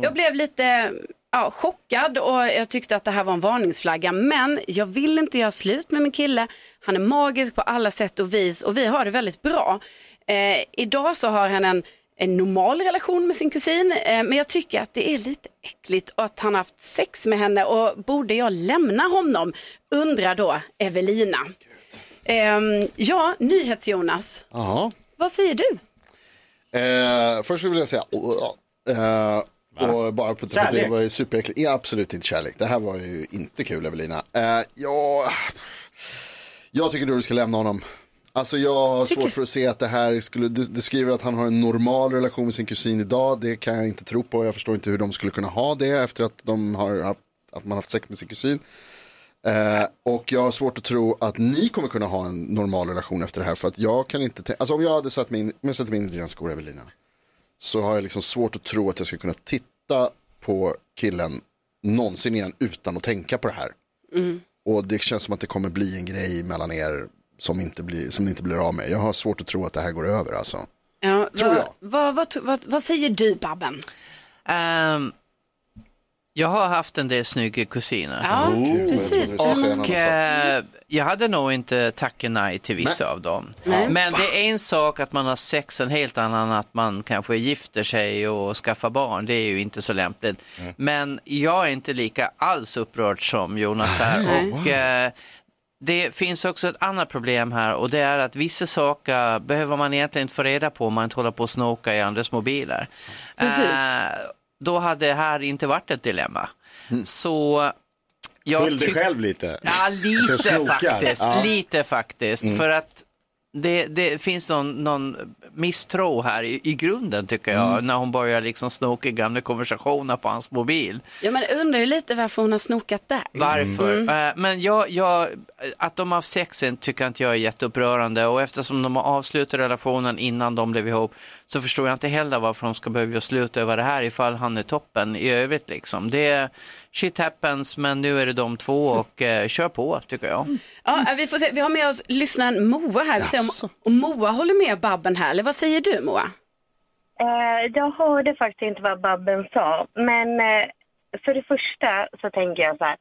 Jag blev lite ja, chockad och jag tyckte att det här var en varningsflagga. Men jag vill inte göra slut med min kille. Han är magisk på alla sätt och vis och vi har det väldigt bra. Eh, idag så har han en, en normal relation med sin kusin. Eh, men jag tycker att det är lite äckligt och att han har haft sex med henne. Och borde jag lämna honom? Undrar då Evelina. Ehm, ja, NyhetsJonas. Jaha. Vad säger du? oh, Eh, först vill jag säga, eh, Och bara på att det Kärlek. var ju superäckligt. Ja, absolut inte kärlek. Det här var ju inte kul Evelina. Eh, ja, jag tycker då du ska lämna honom. Alltså jag har svårt för att se att det här skulle, du, du skriver att han har en normal relation med sin kusin idag. Det kan jag inte tro på. Jag förstår inte hur de skulle kunna ha det efter att, de har haft, att man har haft sex med sin kusin. Eh, och jag har svårt att tro att ni kommer kunna ha en normal relation efter det här. För att jag kan inte tänka, alltså om jag hade satt mig in, om jag sätter mig in i dina skor Evelina. Så har jag liksom svårt att tro att jag skulle kunna titta på killen någonsin igen utan att tänka på det här. Mm. Och det känns som att det kommer bli en grej mellan er som, inte blir, som ni inte blir av med. Jag har svårt att tro att det här går över alltså. Ja, vad, vad, vad, vad, vad säger du Babben? Ehm, jag har haft en del snygga kusiner. Ja, Oh, precis. jag trodde du skulle Och säga en eh, jag hade nog inte tackat nej till vissa av dem. Nej. Men det är en sak att man har sex, en helt annan att man kanske gifter sig och skaffar barn. Det är ju inte så lämpligt. Men jag är inte lika alls upprörd som Jonas här. Nej. Och, eh, det finns också ett annat problem här och det är att vissa saker behöver man egentligen inte få reda på om man inte håller på och snokar i andras mobiler. Precis. Eh, då hade det här inte varit ett dilemma. Så jag Mm. Skyll dig tyck- själv lite. Ja, För lite snokar. faktiskt. Ja. Lite faktiskt. Mm. För att det, det finns någon, någon misstro här i, i grunden tycker jag. Mm. När hon börjar liksom snoka i gamla konversationer på hans mobil. Ja, men undrar ju lite varför hon har snokat där. Varför? Mm. Eh, Men jag, jag, att de har haft sex är- tycker jag inte jag är jätteupprörande och eftersom de har avslutat relationen innan de blev ihop så förstår jag inte heller varför de ska behöva göra slut över det här ifall han är toppen i övrigt liksom. Det är shit happens men nu är det de två och eh, kör på tycker jag. Ja, äh, vi, får se. vi har med oss lyssnaren Moa här. Vi får se om, om Moa håller med Babben här, eller vad säger du Moa? Eh, jag hörde faktiskt inte vad Babben sa, men eh, för det första så tänker jag så här.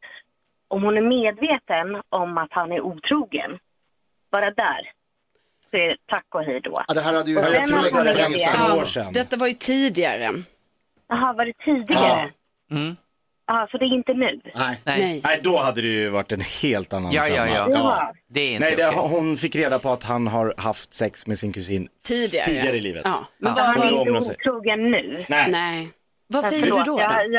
Om hon är medveten om att han är otrogen, bara där, så är det tack och hej då. Ja, det här hade ju Och hänt sen för om hon är länge sedan. medveten- År sedan. Detta var ju tidigare. Mm. Jaha, var det tidigare? Ja, så det är inte nu? Nej. Nej. Nej. då hade det ju varit en helt annan Ja, ja, femma. ja. Ja. Det är inte Nej, det, okej. hon fick reda på att han har haft sex med sin kusin Tidigare. tidigare i livet. Ja, men Så vad- han Hon är ångrar inte sig. otrogen nu? Nej. Nej. Vad säger förlåt, du då, då? Jag,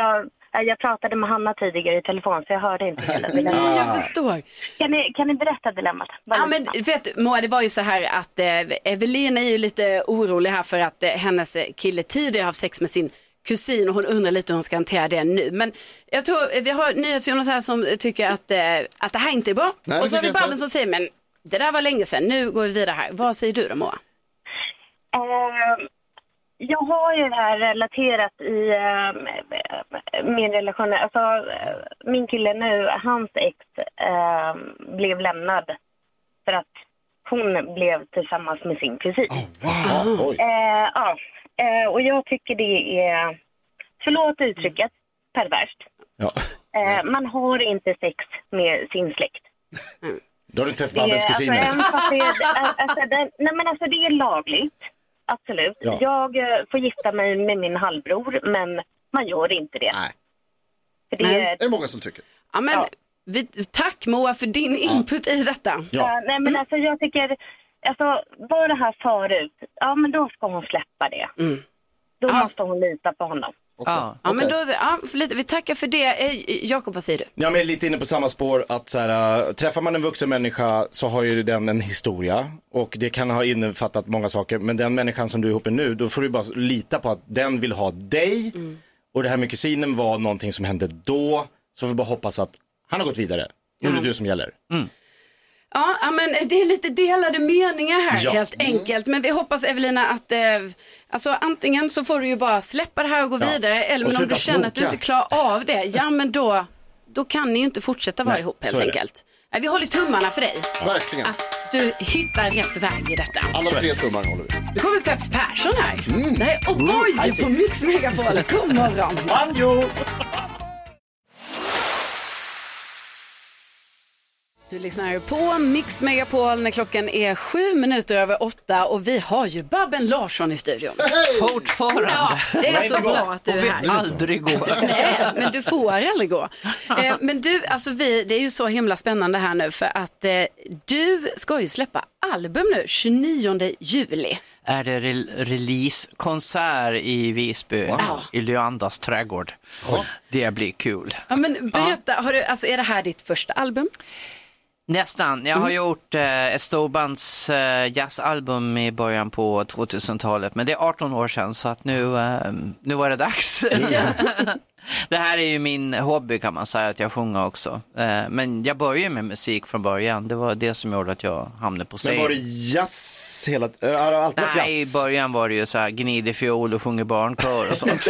jag, jag, pratade med Hanna tidigare i telefon så jag hörde inte hela Nej, jag dilemmat. förstår. Kan ni, kan ni berätta dilemmat? Vad Ja, är men det? vet du, Moa, det var ju så här att eh, Evelina är ju lite orolig här för att eh, hennes eh, kille tidigare har haft sex med sin kusin och hon undrar lite hur hon ska hantera det nu. Men jag tror eh, vi har NyhetsJonas här som tycker att, eh, att det här inte är bra. Nej, det och så tycker har vi jag inte. Babben som säger men det där var länge sedan, nu går vi vidare här. Vad säger du då Moa? Ehm, jag har ju det här relaterat i ehm, min relation. Alltså, eh, min kille nu, hans ex ehm, blev lämnad för att hon blev tillsammans med sin kusin. Eh, ja. Eh, och jag tycker det är, förlåt uttrycket, perverst. Eh, man har inte sex med sin släkt. Mm. Då har du inte sett Det är- Babbens kusiner. Alltså, en fast det- alltså, den- nej, men alltså, det är lagligt, absolut. Ja. Jag eh, får gifta mig med min halvbror, men man gör inte det. För det Nej. är- Är det många som tycker? Ja, men, vi, tack Moa för din input i detta. Mm. Ja. nej, men alltså, jag tycker, alltså, var det här förut, ja men då ska hon släppa det. Mm. Då måste hon lita på honom. Ja, Ja, men då, ja, för lite, vi tackar för det. Eh, Jakob, vad säger du? Ja, men jag är lite inne på samma spår att så här, äh, träffar man en vuxen människa så har ju den en historia och det kan ha innefattat många saker. Men den människan som du är ihop med nu, då får du bara lita på att den vill ha dig. Mm. Och det här med kusinen var någonting som hände då. Så vi bara hoppas att han har gått vidare. Nu är det du som gäller. Ja, ja, men det är lite delade meningar här Ja. helt enkelt. Men vi hoppas Evelina att eh, alltså, antingen så får du ju bara släppa det här och gå Ja. vidare. Eller Och men om du sluta känner att du snoka. inte klarar av det, ja men då, då kan ni ju inte fortsätta vara Nej, ihop så helt är det. enkelt. Nej, vi håller tummarna för dig. Verkligen. Att du hittar rätt väg i detta. Alla tre tummar håller vi. Nu kommer Peps Persson här. Det här är O'boy på Mix Megapol. God morgon. Banjo! Du lyssnar på Mix Megapol när klockan är sju minuter över åtta och vi har ju Babben Larsson i studion. Fortfarande. Ja, det är så Nej, bra att du och är vi här. aldrig gå. Nej, men du får aldrig gå. Eh, Men du, alltså vi, det är ju så himla spännande här nu för att eh, du ska ju släppa album nu 29 juli. Är det re- releasekonsert i Visby, i Leandas trädgård. Det blir kul. Ja, men berätta, har du, alltså, är det här ditt första album? Mm. Nästan. Mm. Jag har gjort eh, ett storbands eh, jazzalbum i början på 2000-talet, men det är 18 år sedan så att nu, eh, nu var det dags. det här är ju min hobby kan man säga, att jag sjunger också. Eh, men jag började med musik från början, det var det som gjorde att jag hamnade på scen. Men var det jazz hela tiden? Har det alltid varit Nej, i jazz? början var det ju så här gnidig fiol och sjunger barnkör och sånt.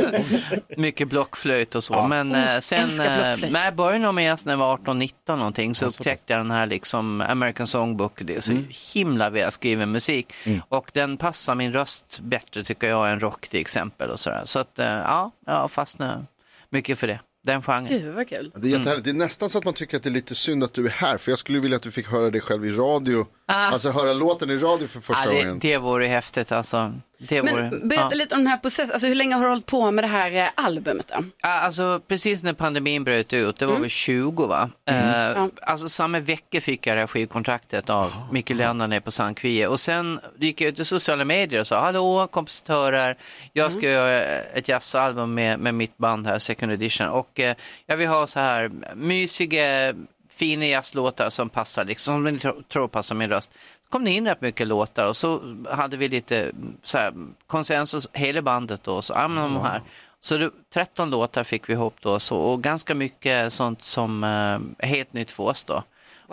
Mycket blockflöjt och så. Men Oh, eh, sen, älskar blockflöjt. eh, när jag började nog med jazz när jag var 18-19 någonting så upptäckte jag den här liksom American Songbook. Det är så himla välskriven musik och den passar min röst bättre tycker jag än rock till exempel och sådär. Så att eh, ja, jag fastnade mycket för det. Den genren. Gud vad kul. Mm. Det är jättehärligt. Det är nästan så att man tycker att det är lite synd att du är här. För jag skulle vilja att du fick höra dig själv i radio. Ah. Alltså höra låten i radio för första ja, det, gången. det vore häftigt alltså. Det vore, Men berätta ja. lite om den här processen, alltså hur länge har du hållit på med det här eh, albumet då? Ja, Alltså precis när pandemin bröt ut, det var väl 20 va? Eh, Alltså samma vecka fick jag det här skivkontraktet av Micke Leander nere på San Quie. Och sen gick jag ut i sociala medier och sa, hallå kompositörer, jag ska göra ett jazzalbum med, med mitt band här, Second Edition. Och eh, jag vill ha så här mysiga, fina jazzlåtar E som passar, liksom, som ni tro- tror passar min röst. Så kom det in rätt mycket låtar och så hade vi lite så här, konsensus, hela bandet då, så, ja men de här. Så det, 13 låtar fick vi ihop då så, och ganska mycket sånt som eh, är helt nytt för oss då.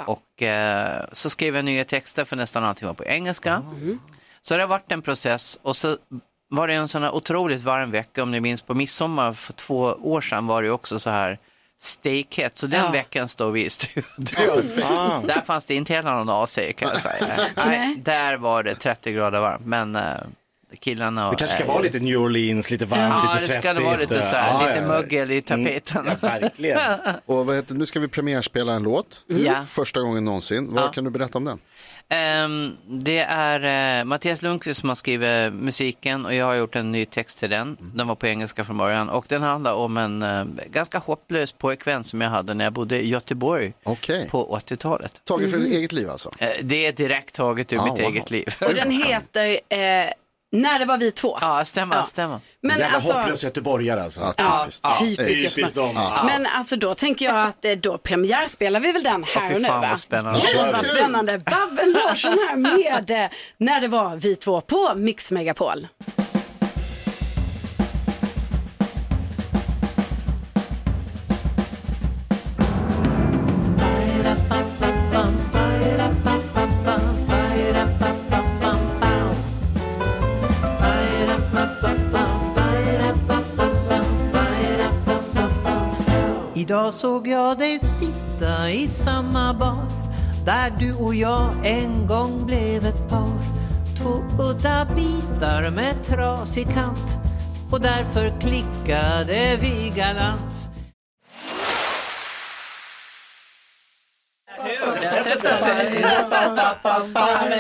Och eh, så skrev jag nya texter för nästan allting var på engelska. Så det har varit en process och så var det en sån här otroligt varm vecka om ni minns på midsommar för två år sedan var det ju också så här stekhett. Så den veckan står vi i studion. Perfekt. Där fanns det inte heller någon AC kan jag säga. Nej, där var det 30 grader varmt men eh, killarna... Det kanske ska eh, vara lite New Orleans, lite varmt, Ja, lite det svettigt. eh, ska det vara lite så här, Ja, Mm. lite ja. mögel i tapeten. verkligen. Och vad heter, nu ska vi premiärspela en låt. Ja. Första gången någonsin. Vad Ja. kan du berätta om den? Ehm, det är eh, Mattias Lundqvist som har skrivit musiken och jag har gjort en ny text till den. Mm. Den var på engelska från början och den handlar om en eh, ganska hopplös pojkvän som jag hade när jag bodde i Göteborg på 80-talet. Taget från ditt eget liv alltså? Eh, det är direkt taget ur Ah, mitt wow. eget liv. Mm. Och den heter eh, När det var vi två. Ja, stämmer, stämmer. Men Jävla alltså- hopplös göteborgare alltså. Ja, typiskt. typiskt dem. Men alltså då tänker jag att eh, då premiärspelar vi väl den här fy och nu fan, va? vad spännande. Gud, Kör vad vi. spännande. Babben Larsson här med eh, När det var vi två på Mix Megapol. Idag såg jag dig sitta i samma bar där du och jag en gång blev ett par. Två udda bitar med trasig kant och därför klickade vi galant.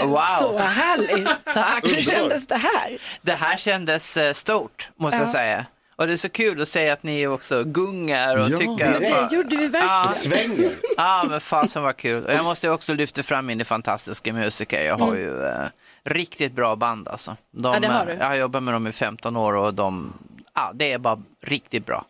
Wow. Så härligt. Tack. Hur kändes det här? Det här kändes eh, stort, måste Ja. jag säga. Och det är så kul att se att ni också gungar och Ja. tycker. Det fan- gjorde vi verkligen. Det svänger. Ja, men fasen vad kul. Och jag måste också lyfta fram mina fantastiska musiker. Jag har ju eh, riktigt bra band alltså. De, Mm. Ja, det har du. eh, Jag har jobbat med dem i 15 år och de, ja, det är bara riktigt bra.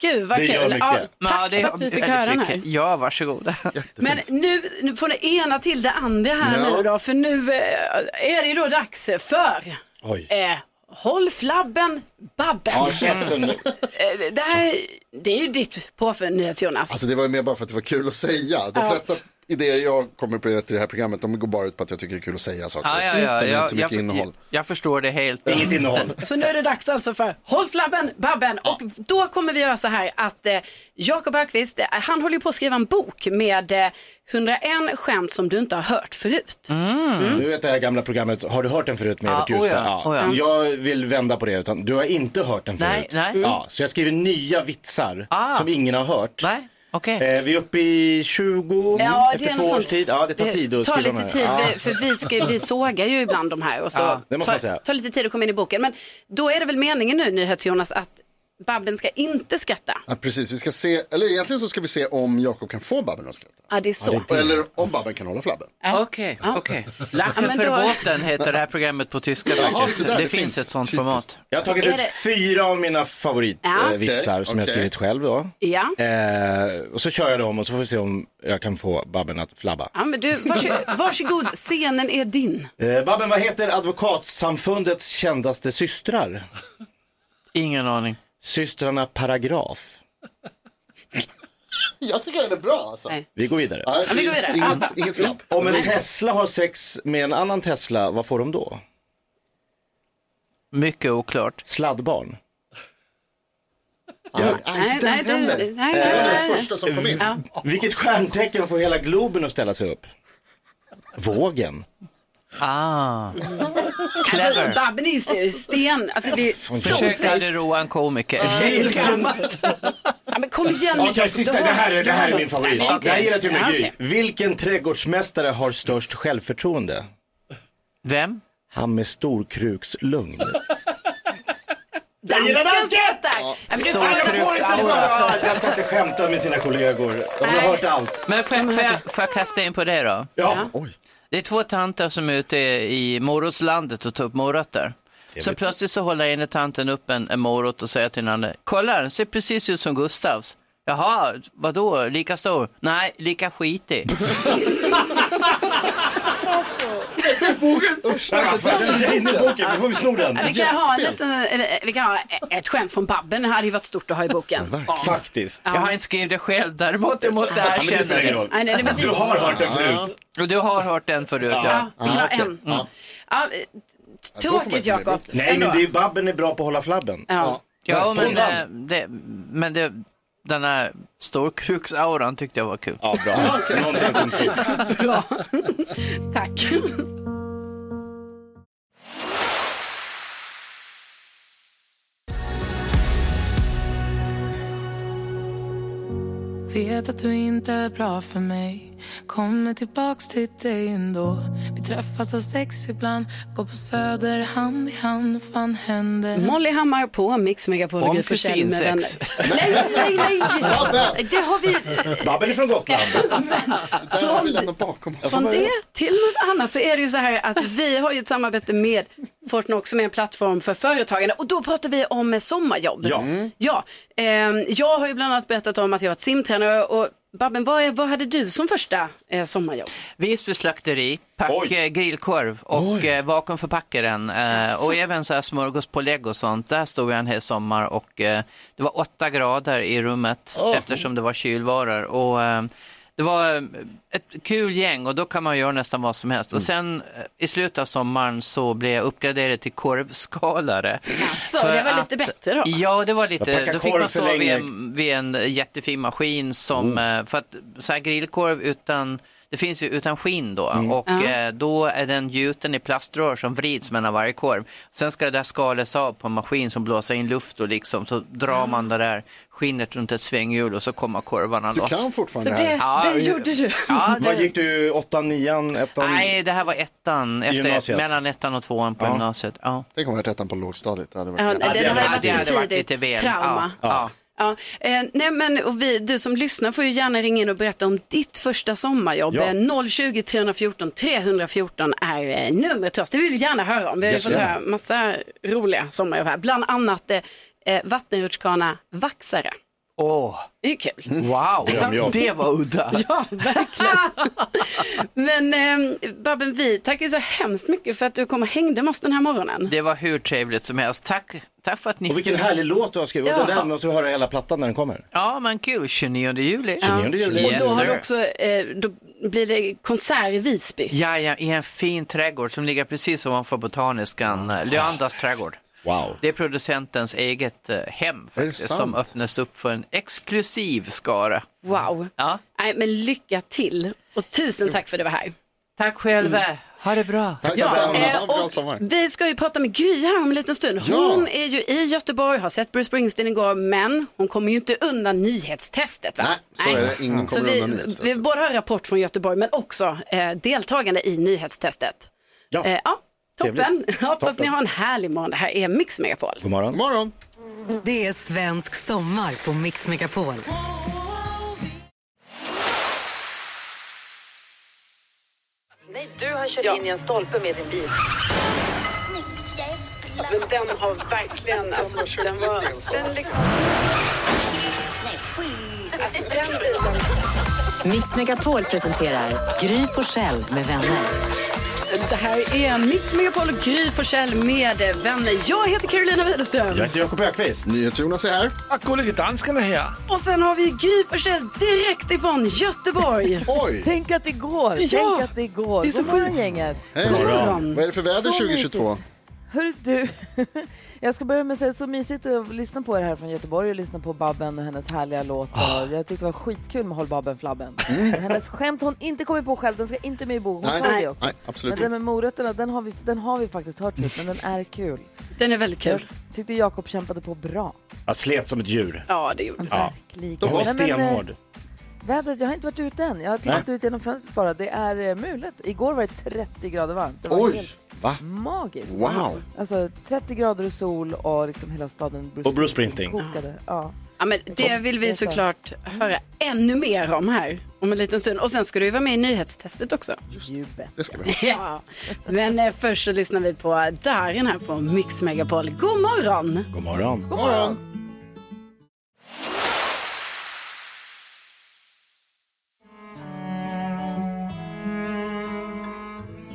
Gud vad kul. Ja, tack Ja, det för gör att vi fick väldigt höra den mycket. här. Ja, varsågod. Men nu, nu får det ena till det andra här Ja. nu då, för nu eh, är det då dags för Oj. eh, Håll flabben, Babben. Ja, käften nu. Eh, det här det är ju ditt påfund, nyhets Jonas. Alltså det var ju mer bara för att det var kul att säga. De Ja. flesta idéer jag kommer på i det här programmet, de går bara ut på att jag tycker det är kul att säga saker. Ja, ja, ja. Sen är det Jag, inte så jag, mycket jag, innehåll. jag förstår det helt. Inget innehåll. Så nu är det dags alltså för Håll flabben, Babben. Och då kommer vi göra så här att eh, Jakob Ökvist, eh, han håller ju på att skriva en bok med eh, 101 skämt som du inte har hört förut. Du vet det här gamla programmet, har du hört den förut med Mm. Ja, Evert Ljusberg? oja, oja. Mm. Jag vill vända på det, utan du har inte hört den Nej, förut. nej. Ja, så jag skriver nya vitsar Ah. som ingen har hört. Eh, vi är uppe i 20, Ja, det är Mm, efter två något års sånt. tid. Ja, det tar tid att tar skriva lite de tid, här. Ja. för vi, ska, vi sågar ju ibland de här och så Ja, det måste tar, man säga. tar lite tid att komma in i boken. Men då är det väl meningen nu, NyhetsJonas, att Babben ska inte skratta. Ja, precis, vi ska se, eller egentligen så ska vi se om Jakob kan få Babben att skratta. Ja, det är så. Eller om Babben kan hålla flabben. Okej, okej. Ja, Lachen men för då- båten heter det här programmet på tyska Jaha, faktiskt. så där, det, det finns finns. ett sånt format. Jag har tagit Är ut det- fyra av mina favoritvitsar Ja. eh, vitsar Okej, som jag okej. skrivit själv då. Ja. Eh, och så kör jag dem och så får vi se om jag kan få Babben att flabba. Ja, men du, varsågod, varsågod, scenen är din. Eh, Babben, vad heter Advokatsamfundets kändaste systrar? Ingen aning. Systrarna Paragraf. Jag tycker den är bra alltså. Vi går vidare. Ja, vi går vidare. Inget- inget flabb. Om en Nej. Tesla har sex med en annan Tesla, vad får de då? Mycket oklart. Sladdbarn. Ja. Nej, inte den nej, det- heller. nej, det var nej, den nej. första som kom in. Ja. Vilket stjärntecken får hela Globen att ställa sig upp? Vågen. Ah. Alltså, Babben är ju st- sten, alltså det är Försök aldrig storeface. roa en komiker. Ja, men kom igen Okej, Jakob, sista. du Det har- här är, det här är du har- min favorit. Nej, men Det här gillar till och med Ja, Gry. okej. Vilken trädgårdsmästare har störst självförtroende? Vem? Han med storkrukslugn. Dansken skrattar! Ja, men du får- jag får inte det för- Jag ska inte skämta med sina kollegor. De har hört allt. Men får, jag- får, jag, får jag kasta in på det då? Ja. Det är två tanter som är ute i morotslandet och tar upp morötter. Så plötsligt så håller ena tanten upp en, en morot och säger till den andra, kolla den ser precis ut som Gustavs. Jaha, vadå, lika stor? Nej, lika skitig. Jag ska i boken. Den ska in i boken. Vi får vi sno den. Ja, vi, kan ha en liten, eller, eh, vi kan ha ett skämt från Babben, det hade ju varit stort att ha i boken. Faktiskt. Jag har inte skrivit det själv, däremot jag måste Ja, men det erkänna spelar ingen roll. Nej, nej, det var- Du har hört den förut. Och du har hört den förut, ja. Mm. Ja, vi kan ha en. Ja. eh, tråkigt Jakob. Nej, men det är, Babben är bra på att hålla flabben. Ja. Ja, men, Verkligen. eh, det, men det, den här storkruksauran tyckte jag var kul. Ja, bra. Någonting som Bra. Tack. Vet att du inte är bra för mig Kommer tillbaks till dig ändå Vi träffas av sex ibland Går på söder hand i hand Fan händer Molly Hammar på Mix Megapol och Om Gry Forssell med kusinsex. vänner. Nej, nej, nej. Det har vi. Babben är från Gotland. Från, Alltså, från det till något annat så är det ju så här att vi har ju ett samarbete med Fortnox som är en plattform för företagande och då pratar vi om eh, sommarjobb. Ja. ja ehm, jag har ju bland annat berättat om att jag har varit simtränare och Babben, vad, är, vad hade du som första eh, sommarjobb? Visby slakteri, pack eh, grillkorv och eh, vakuumförpackar den. Eh, Jaså. och även så här smörgåspålägg och sånt. Där stod jag en hel sommar och eh, det var åtta grader i rummet eftersom det var kylvaror. Och, eh, det var eh, ett kul gäng och då kan man göra nästan vad som helst. Och sen eh, i slutet av sommaren så blev jag uppgraderad till korvskalare. Så För det var att- lite bättre då? Ja, det var Jag lite, packar då fick korv man för stå vid länge. en, vid en jättefin maskin som, Mm. eh, för att så här grillkorv utan, det finns ju utan skinn då Mm. och Ja. eh, då är den gjuten i plaströr som vrids mellan varje korv. Sen ska det där skalas av på en maskin som blåser in luft och liksom så drar man det där skinnet runt ett svänghjul och så kommer korvarna Du loss. kan fortfarande Så det här. det- det gjorde du. Ja, det, Vad gick du? Åttan, nian, ettan? Nej, det här var ettan, efter, Gymnasiet. mellan ettan och tvåan på Ja. gymnasiet. Ja. Tänk om jag hade ettan på lågstadiet. Det hade varit Ja, jävligt. det, det, hade här varit- är det hade lite varit tidigt. lite väl, Trauma. ja. Ja. Ja, eh, nej men och vi, du som lyssnar får ju gärna ringa in och berätta om ditt första sommarjobb. Ja. Eh, 020 314 314 är eh, numret till oss. Det vill vi gärna höra om. Vi har ju fått Jättegärna. höra massa roliga sommarjobb här. Bland annat eh, eh, vattenrutschkana vaxare. Åh, Det är ju kul. wow, Drömjobb. det var udda. Ja, verkligen. men eh, Babben, vi tackar ju så hemskt mycket för att du kom och hängde med oss den här morgonen. Det var hur trevligt som helst. Tack, tack för att ni... Och vilken härlig låt du har skrivit. Ja. Och Den måste vi höra hela plattan när den kommer. Ja, men kul. 29 juli. Ja. Och Yes, då, har sir. du också, eh, då blir det konsert i Visby. Ja, ja, i en fin trädgård som ligger precis ovanför botaniskan. eh, Leandras trädgård. Ah. Wow. Det är producentens eget eh, hem faktiskt, sant? som öppnas upp för en exklusiv skara. Wow. Ja. Nej, men lycka till och tusen tack för att du var här. Mm. Tack själva. Ha det bra. Tack Ja, detsamma. eh, Ha en bra och sommar. Vi ska ju prata med Gry här om en liten stund. Ja. Hon är ju i Göteborg, har sett Bruce Springsteen igår, men hon kommer ju inte undan nyhetstestet. Va? Nej, så är det. Ingen Så kommer vi, undan nyhetstestet. Vi både har rapport från Göteborg, men också eh, deltagande i nyhetstestet. Ja, eh, ja toppen. Trevligt. Hoppas Toppen. ni har en härlig morgon. Det här är Mix Megapol. God morgon. morgon. Det är svensk sommar på Mix Megapol. Nej, du har kört in i en stolpe med din bil. Men den har verkligen, alltså, den var, den liksom... Alltså, den bilen. Mix Megapol presenterar Gry Forssell med vänner. Det här är Mix Megapol och Gry Forssell med vänner. Jag heter Carolina Widerström. Jag heter Jakob Ökvist. NyhetsJonas är här. Och gullige danskarna här. Och sen har vi Gry Forssell direkt ifrån Göteborg. Oj! Tänk att det går! Ja. Tänk att det går! Det är så God morgon gänget! Hej. God morgon. Vad är det för väder Så 2022? mysigt. Hör du, jag ska börja med att säga så mysigt att lyssna på er här från Göteborg och lyssna på Babben och hennes härliga låt. Ah. Och Jag tyckte det var skitkul med Håll Babben Flabben. Hennes skämt hon inte kommit på själv, den ska inte med i bok. Hon Mm. Nej, sa det också. nej, absolut men den inte. med morötterna, den har, vi, den har vi faktiskt hört förut, men den är kul. Den är väldigt kul. Jag tyckte Jakob kämpade på bra. Jag slet som ett djur. Ja, det gjorde ja. verkligen. Jag var Nej, men, eh, stenhård. Vädret, jag har inte varit ute än. Jag har tittat ut genom fönstret bara. Det är eh, mulet. Igår var det 30 grader varmt. Det var Oj. helt Va? magiskt. Wow. Alltså 30 grader och sol och liksom hela staden Och Bruce Springsteen. kokade. Ja. Ja, men det vill vi såklart höra ännu mer om här om en liten stund. Och sen ska du ju vara med i nyhetstestet också. Det ska vi Ja, men eh, först så lyssnar vi på Darin här på Mix Megapol. God morgon! God morgon. God morgon!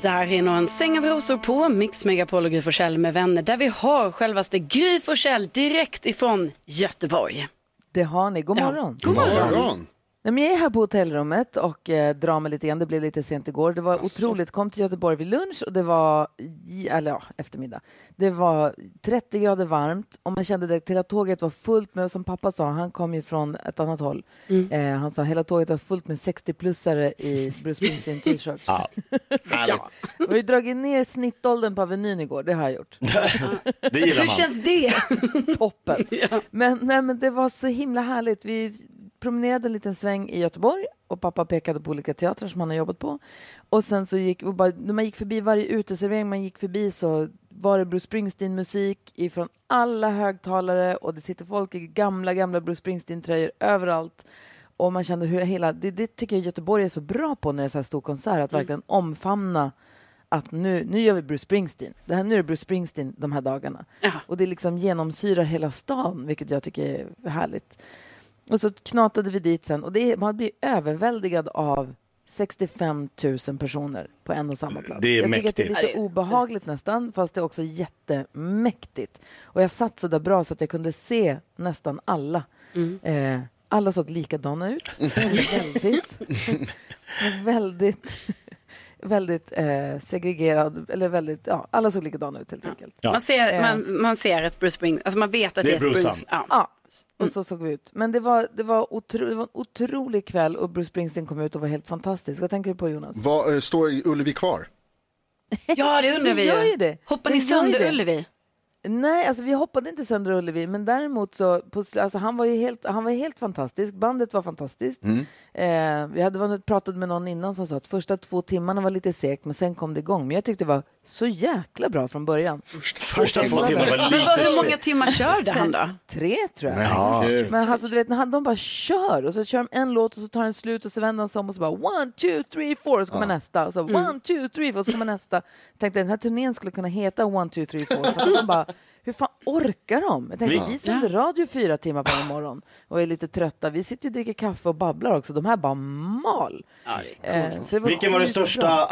Darin och en säng av rosor på Mix Megapol och Gry Forssell med vänner där vi har självaste Gry Forssell direkt ifrån Göteborg. Det har ni. God Ja. morgon. God morgon. God morgon. Nej, men jag är här på hotellrummet och eh, drar mig lite igen. Det blev lite sent igår. Det var Alltså. otroligt. Kom till Göteborg vid lunch och det var, i- eller ja, eftermiddag. Det var 30 grader varmt och man kände direkt hela tåget var fullt med, som pappa sa, han kom ju från ett annat håll. Eh, han sa hela tåget var fullt med 60-plussare i Bruce Springsteen t-shirts. Ja. ja. Vi har ju dragit ner snittåldern på Avenyn igår, det har jag gjort. Det gillar man. det? Toppen. men, nej, men det var så himla härligt. Vi promenerade en liten sväng i Göteborg och pappa pekade på olika teatrar som han har jobbat på. Och sen så gick, och bara, när man gick förbi varje uteservering man gick förbi så var det Bruce Springsteen-musik ifrån alla högtalare och det sitter folk i gamla, gamla Bruce Springsteen-tröjor överallt. Och man kände hur hela, det, det tycker jag Göteborg är så bra på när det är så här stor konsert, att verkligen omfamna att nu, nu gör vi Bruce Springsteen. Det här, nu är det Bruce Springsteen de här dagarna. Och det liksom genomsyrar hela stan, vilket jag tycker är härligt. Och så knatade vi dit sen och det är, man blir överväldigad av 65 000 personer på en och samma plats. Det är jag tycker att det är mäktigt. lite obehagligt nästan, fast det är också jättemäktigt. Och jag satt så där bra så att jag kunde se nästan alla. Eh, alla såg likadana ut. väldigt. väldigt. Väldigt eh, segregerad, eller väldigt, ja, alla såg likadana ut helt enkelt. Man, ser, Eh, man, man ser ett Bruce Springsteen, alltså man vet att det är, ett Bruce. Ja. Ja, och så såg vi ut. Men det var, det, var otro, det var en otrolig kväll och Bruce Springsteen kom ut och var helt fantastisk. Vad tänker du på Jonas? Vad, eh, står Ullevi kvar? Ja, det undrar vi ju. gör ju det. Hoppar Den ni gör ju sönder det. Ullevi? Nej, alltså vi hoppade inte sönder Ullevi, men däremot så, på, sl- alltså han var ju helt, han var helt fantastisk, bandet var fantastiskt. Eh, vi hade varit, pratat med någon innan som sa att första två timmarna var lite segt, men sen kom det igång. Men jag tyckte det var så jäkla bra från början. Första två timmar var Men vad, lite hur många segt. timmar körde han då? Tre tror jag. Ja. Kul. Men alltså, du vet, när han, de bara kör och så kör de en låt och så tar den slut och så vänder han sig om och så bara one, two, three, four och så kommer Ja. nästa. Och så Mm. one, two, three, four och så kommer nästa. Tänkte den här turnén skulle kunna heta one, two, three, four. För att de bara, hur fan orkar de? Jag tänkte, Vi- vi sänder radio fyra timmar på morgon och är lite trötta. Vi sitter ju och dricker kaffe och babblar också. De här bara mal. Eh, så det var Vilken var den skitbra. största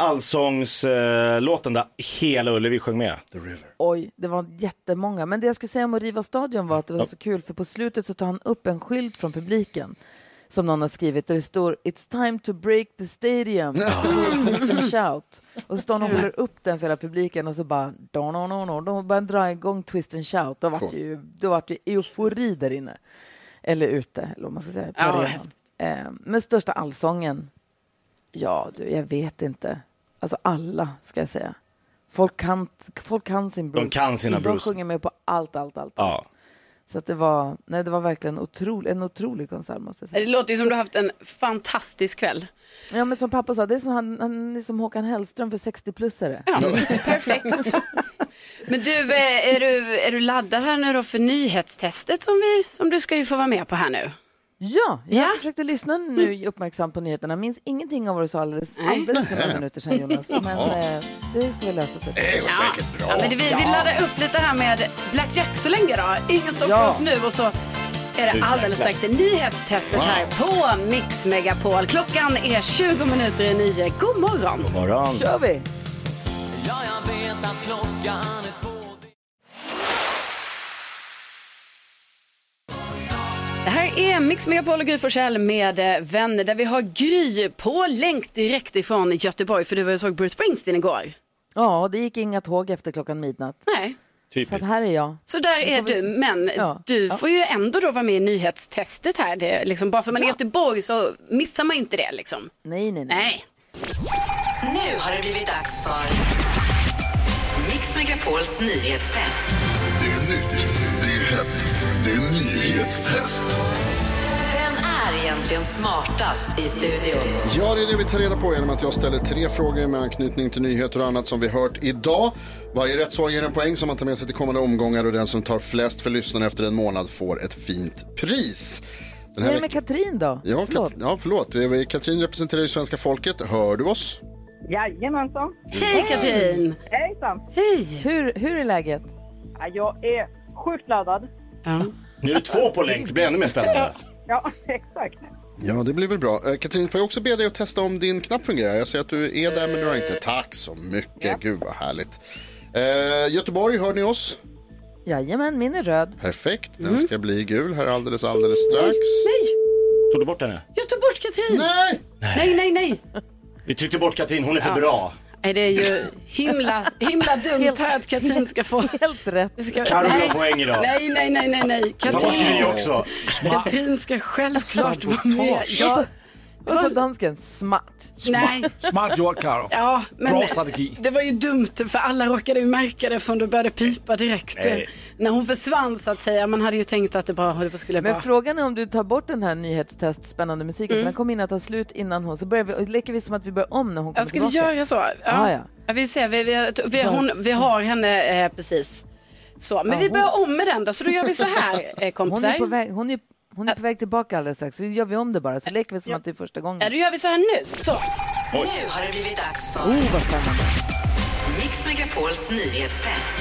allsångslåten där hela Ullevi sjöng med? The River. Oj, det var jättemånga. Men det jag skulle säga om att riva stadion var att det var så kul, för på slutet så tar han upp en skylt från publiken som någon har skrivit där det står It's time to break the stadium. Western shout. Och så står han och håller upp den för hela publiken och så bara no, no, no, no. De börjar dra igång twist and shout. Då vart det ju, då vart det eufori där inne. Eller ute, eller vad man ska säga. Ehm, På Ja, arenan. häftigt. Eh, Men största allsången? Ja, du, jag vet inte. Alltså alla, ska jag säga. Folk kan, folk kan sin blues. kan sina blues. De sjunger med på allt, allt, allt. Ja. Så att det var, nej det var verkligen otrolig, en otrolig konsert måste jag säga. Det låter ju som du har haft en fantastisk kväll. Ja men som pappa sa, det är som, han, han är som Håkan Hellström för 60-plussare. Perfekt. Men du, eh, är du, är du laddad här nu då för nyhetstestet som, vi, som du ska ju få vara med på här nu? Ja, jag försökte lyssna nu uppmärksamt på nyheterna. Minns ingenting av vad du sa alldeles, Mm. Nej. alldeles för några minuter sedan Jonas. Men Jaha. eh, det ska vi lösa sig. Det går säkert Ja, men vi, vi laddar upp lite här med Blackjack så länge då. Ingen stoppar Ja. oss nu och så är det Nu alldeles jäklar. strax det nyhetstestet Wow. här på Mix Megapol. Klockan är 20 minuter i nio. God morgon! God morgon. kör vi! Ja, jag vet att klockan är två. Det här är Mix Megapol och Gry Forssell med eh, vänner där vi har Gry på länk direkt ifrån Göteborg för du var ju och såg Bruce Springsteen igår. Ja, och det gick inga tåg efter klockan midnatt. Nej. Så att här är jag. Så där är du, men du får ju ändå då vara med i nyhetstestet här. Det, är liksom, bara för man är i Göteborg så missar man ju inte det liksom. Nej, nej, nej. Nu har det blivit dags för Mix Megapols nyhetstest. Det är nytt, det är hett, det är nyhetstest. Vem är egentligen smartast i studion? Ja, det är det vi tar reda på genom att jag ställer tre frågor med anknytning till nyheter och annat som vi hört idag. Varje rätt svar ger en poäng som man tar med sig till kommande omgångar och den som tar flest för lyssnarna efter en månad får ett fint pris. Den Hur här är det med veck- Katrin då? Ja, förlåt. Kat- ja, förlåt. Det är- Katrin representerar ju svenska folket. Hör du oss? Jajamensan. Hej Katrin! Hejsan. Hej! Hur, hur är läget? Ja, Jag är sjukt laddad. Nu är det två på länk, det blir ännu mer spännande. Ja, exakt. Ja, det blir väl bra. Eh, Katrin, får jag också be dig att testa om din knapp fungerar? Jag ser att du är där, men du har Eh, inte. Tack så mycket. Gud, vad härligt. Eh, Göteborg, hör ni oss? Jajamän, min är röd. Perfekt. Den ska bli gul här alldeles, alldeles strax. Mm. Nej, Tog du bort henne? jag tog bort Katrin! Nej! Nej, nej, nej. Vi tryckte bort Katrin, hon är för Ja. bra. Nej, det är ju himla, himla dumt här att Katrin ska få... Helt rätt. Ska... Karo Nej. har poäng idag. Nej, nej, nej, nej, nej. Ta bort Gry Katrin, också. Katrin ska självklart vara med. Ja, Vad sa dansken? Smart. Nej. Smart gjort, Karo. ja, men Bra strategi. det var ju dumt för alla råkade ju märka det eftersom du började pipa direkt. Nej. När hon försvann så att säga. Man hade ju tänkt att det bara Mm. det skulle Men vara... frågan är om du tar bort den här nyhetstest spännande musiken, för den kommer in att ta slut innan hon, så börjar vi, och leker vi som att vi börjar om när hon Ja, kommer ska vi tillbaka. göra så? Ja. Ah, ja. Vi, ser, vi, vi, vi, hon, vi har henne eh, precis. Så, men Ja, vi hon- börjar om med den då, så då gör vi så här eh, Hon kompisar. är, på väg, hon, är, hon är på väg tillbaka alldeles strax, så gör vi om det bara, så leker vi som att det är första Ja, gången. då gör vi så här nu. Så. Nu har det blivit dags för Oh, vad spännande. Mix Megapols nyhetstest.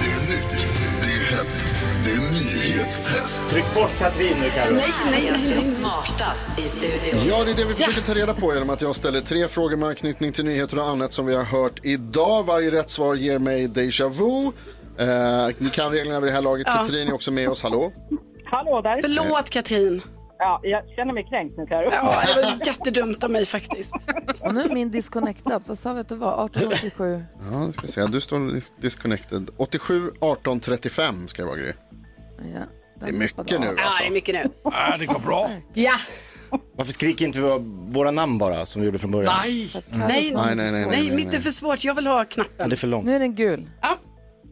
Det är nytt, det är hett, det är nyhetstest. Tryck bort Katrin nu, Karo. Vem är egentligen smartast i studion? Ja, det är det vi försöker ta reda på genom att jag ställer tre frågor med anknytning till nyheter och annat som vi har hört idag. Varje rätt svar ger mig déjà vu. Eh, ni kan reglerna vid det här laget. Ja. Katrin är också med oss. Hallå? Hallå där. Förlåt Katrin. Ja, jag känner mig kränkt nu, Karo. Ja, det var jättedumt av mig faktiskt. Och nu är min disconnectad, vad sa vi att det var? 1887? Ja, vi ska se. Du står dis- disconnected. 87 18 35 ska det vara, Gry. Det är mycket nu Ja, alltså. det är mycket nu. Ah, det går bra. Ja. Varför skriker inte vi våra namn bara, som vi gjorde från början? Nej, nej, nej, nej, nej, nej, mitt är nej. för svårt. Jag vill ha Ja, knappen. det är för långt. Nu är den gul.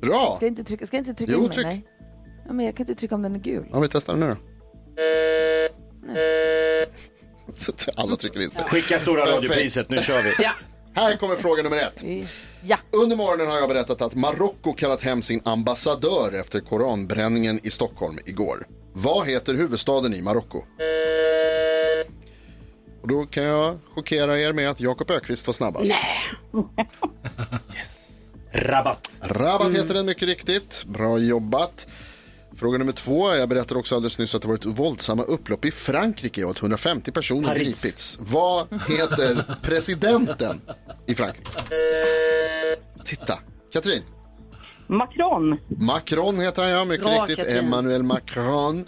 Bra! Ska jag inte trycka, ska jag inte trycka Jo, in mig? tryck. Nej. Ja, men jag kan inte trycka om den är gul. Ja, vi testar den nu då. Alla trycker in sig. Skicka stora Perfekt. radiopriset, nu kör vi. Här kommer fråga nummer ett. Under morgonen har jag berättat att Marocko kallat hem sin ambassadör efter koranbränningen i Stockholm igår. Vad heter huvudstaden i Marocko? Och då kan jag chockera er med att Jakob Ökvist var snabbast. Rabatt. Mm. Rabat heter den mycket riktigt. Bra jobbat. Fråga nummer två. Jag berättade också alldeles nyss att det varit våldsamma upplopp i Frankrike och att 150 personer Paris. gripits. Vad heter presidenten i Frankrike? Titta, Katrin. Macron. Macron heter han, ja. Mycket Bra, riktigt. Katrin. Emmanuel Macron.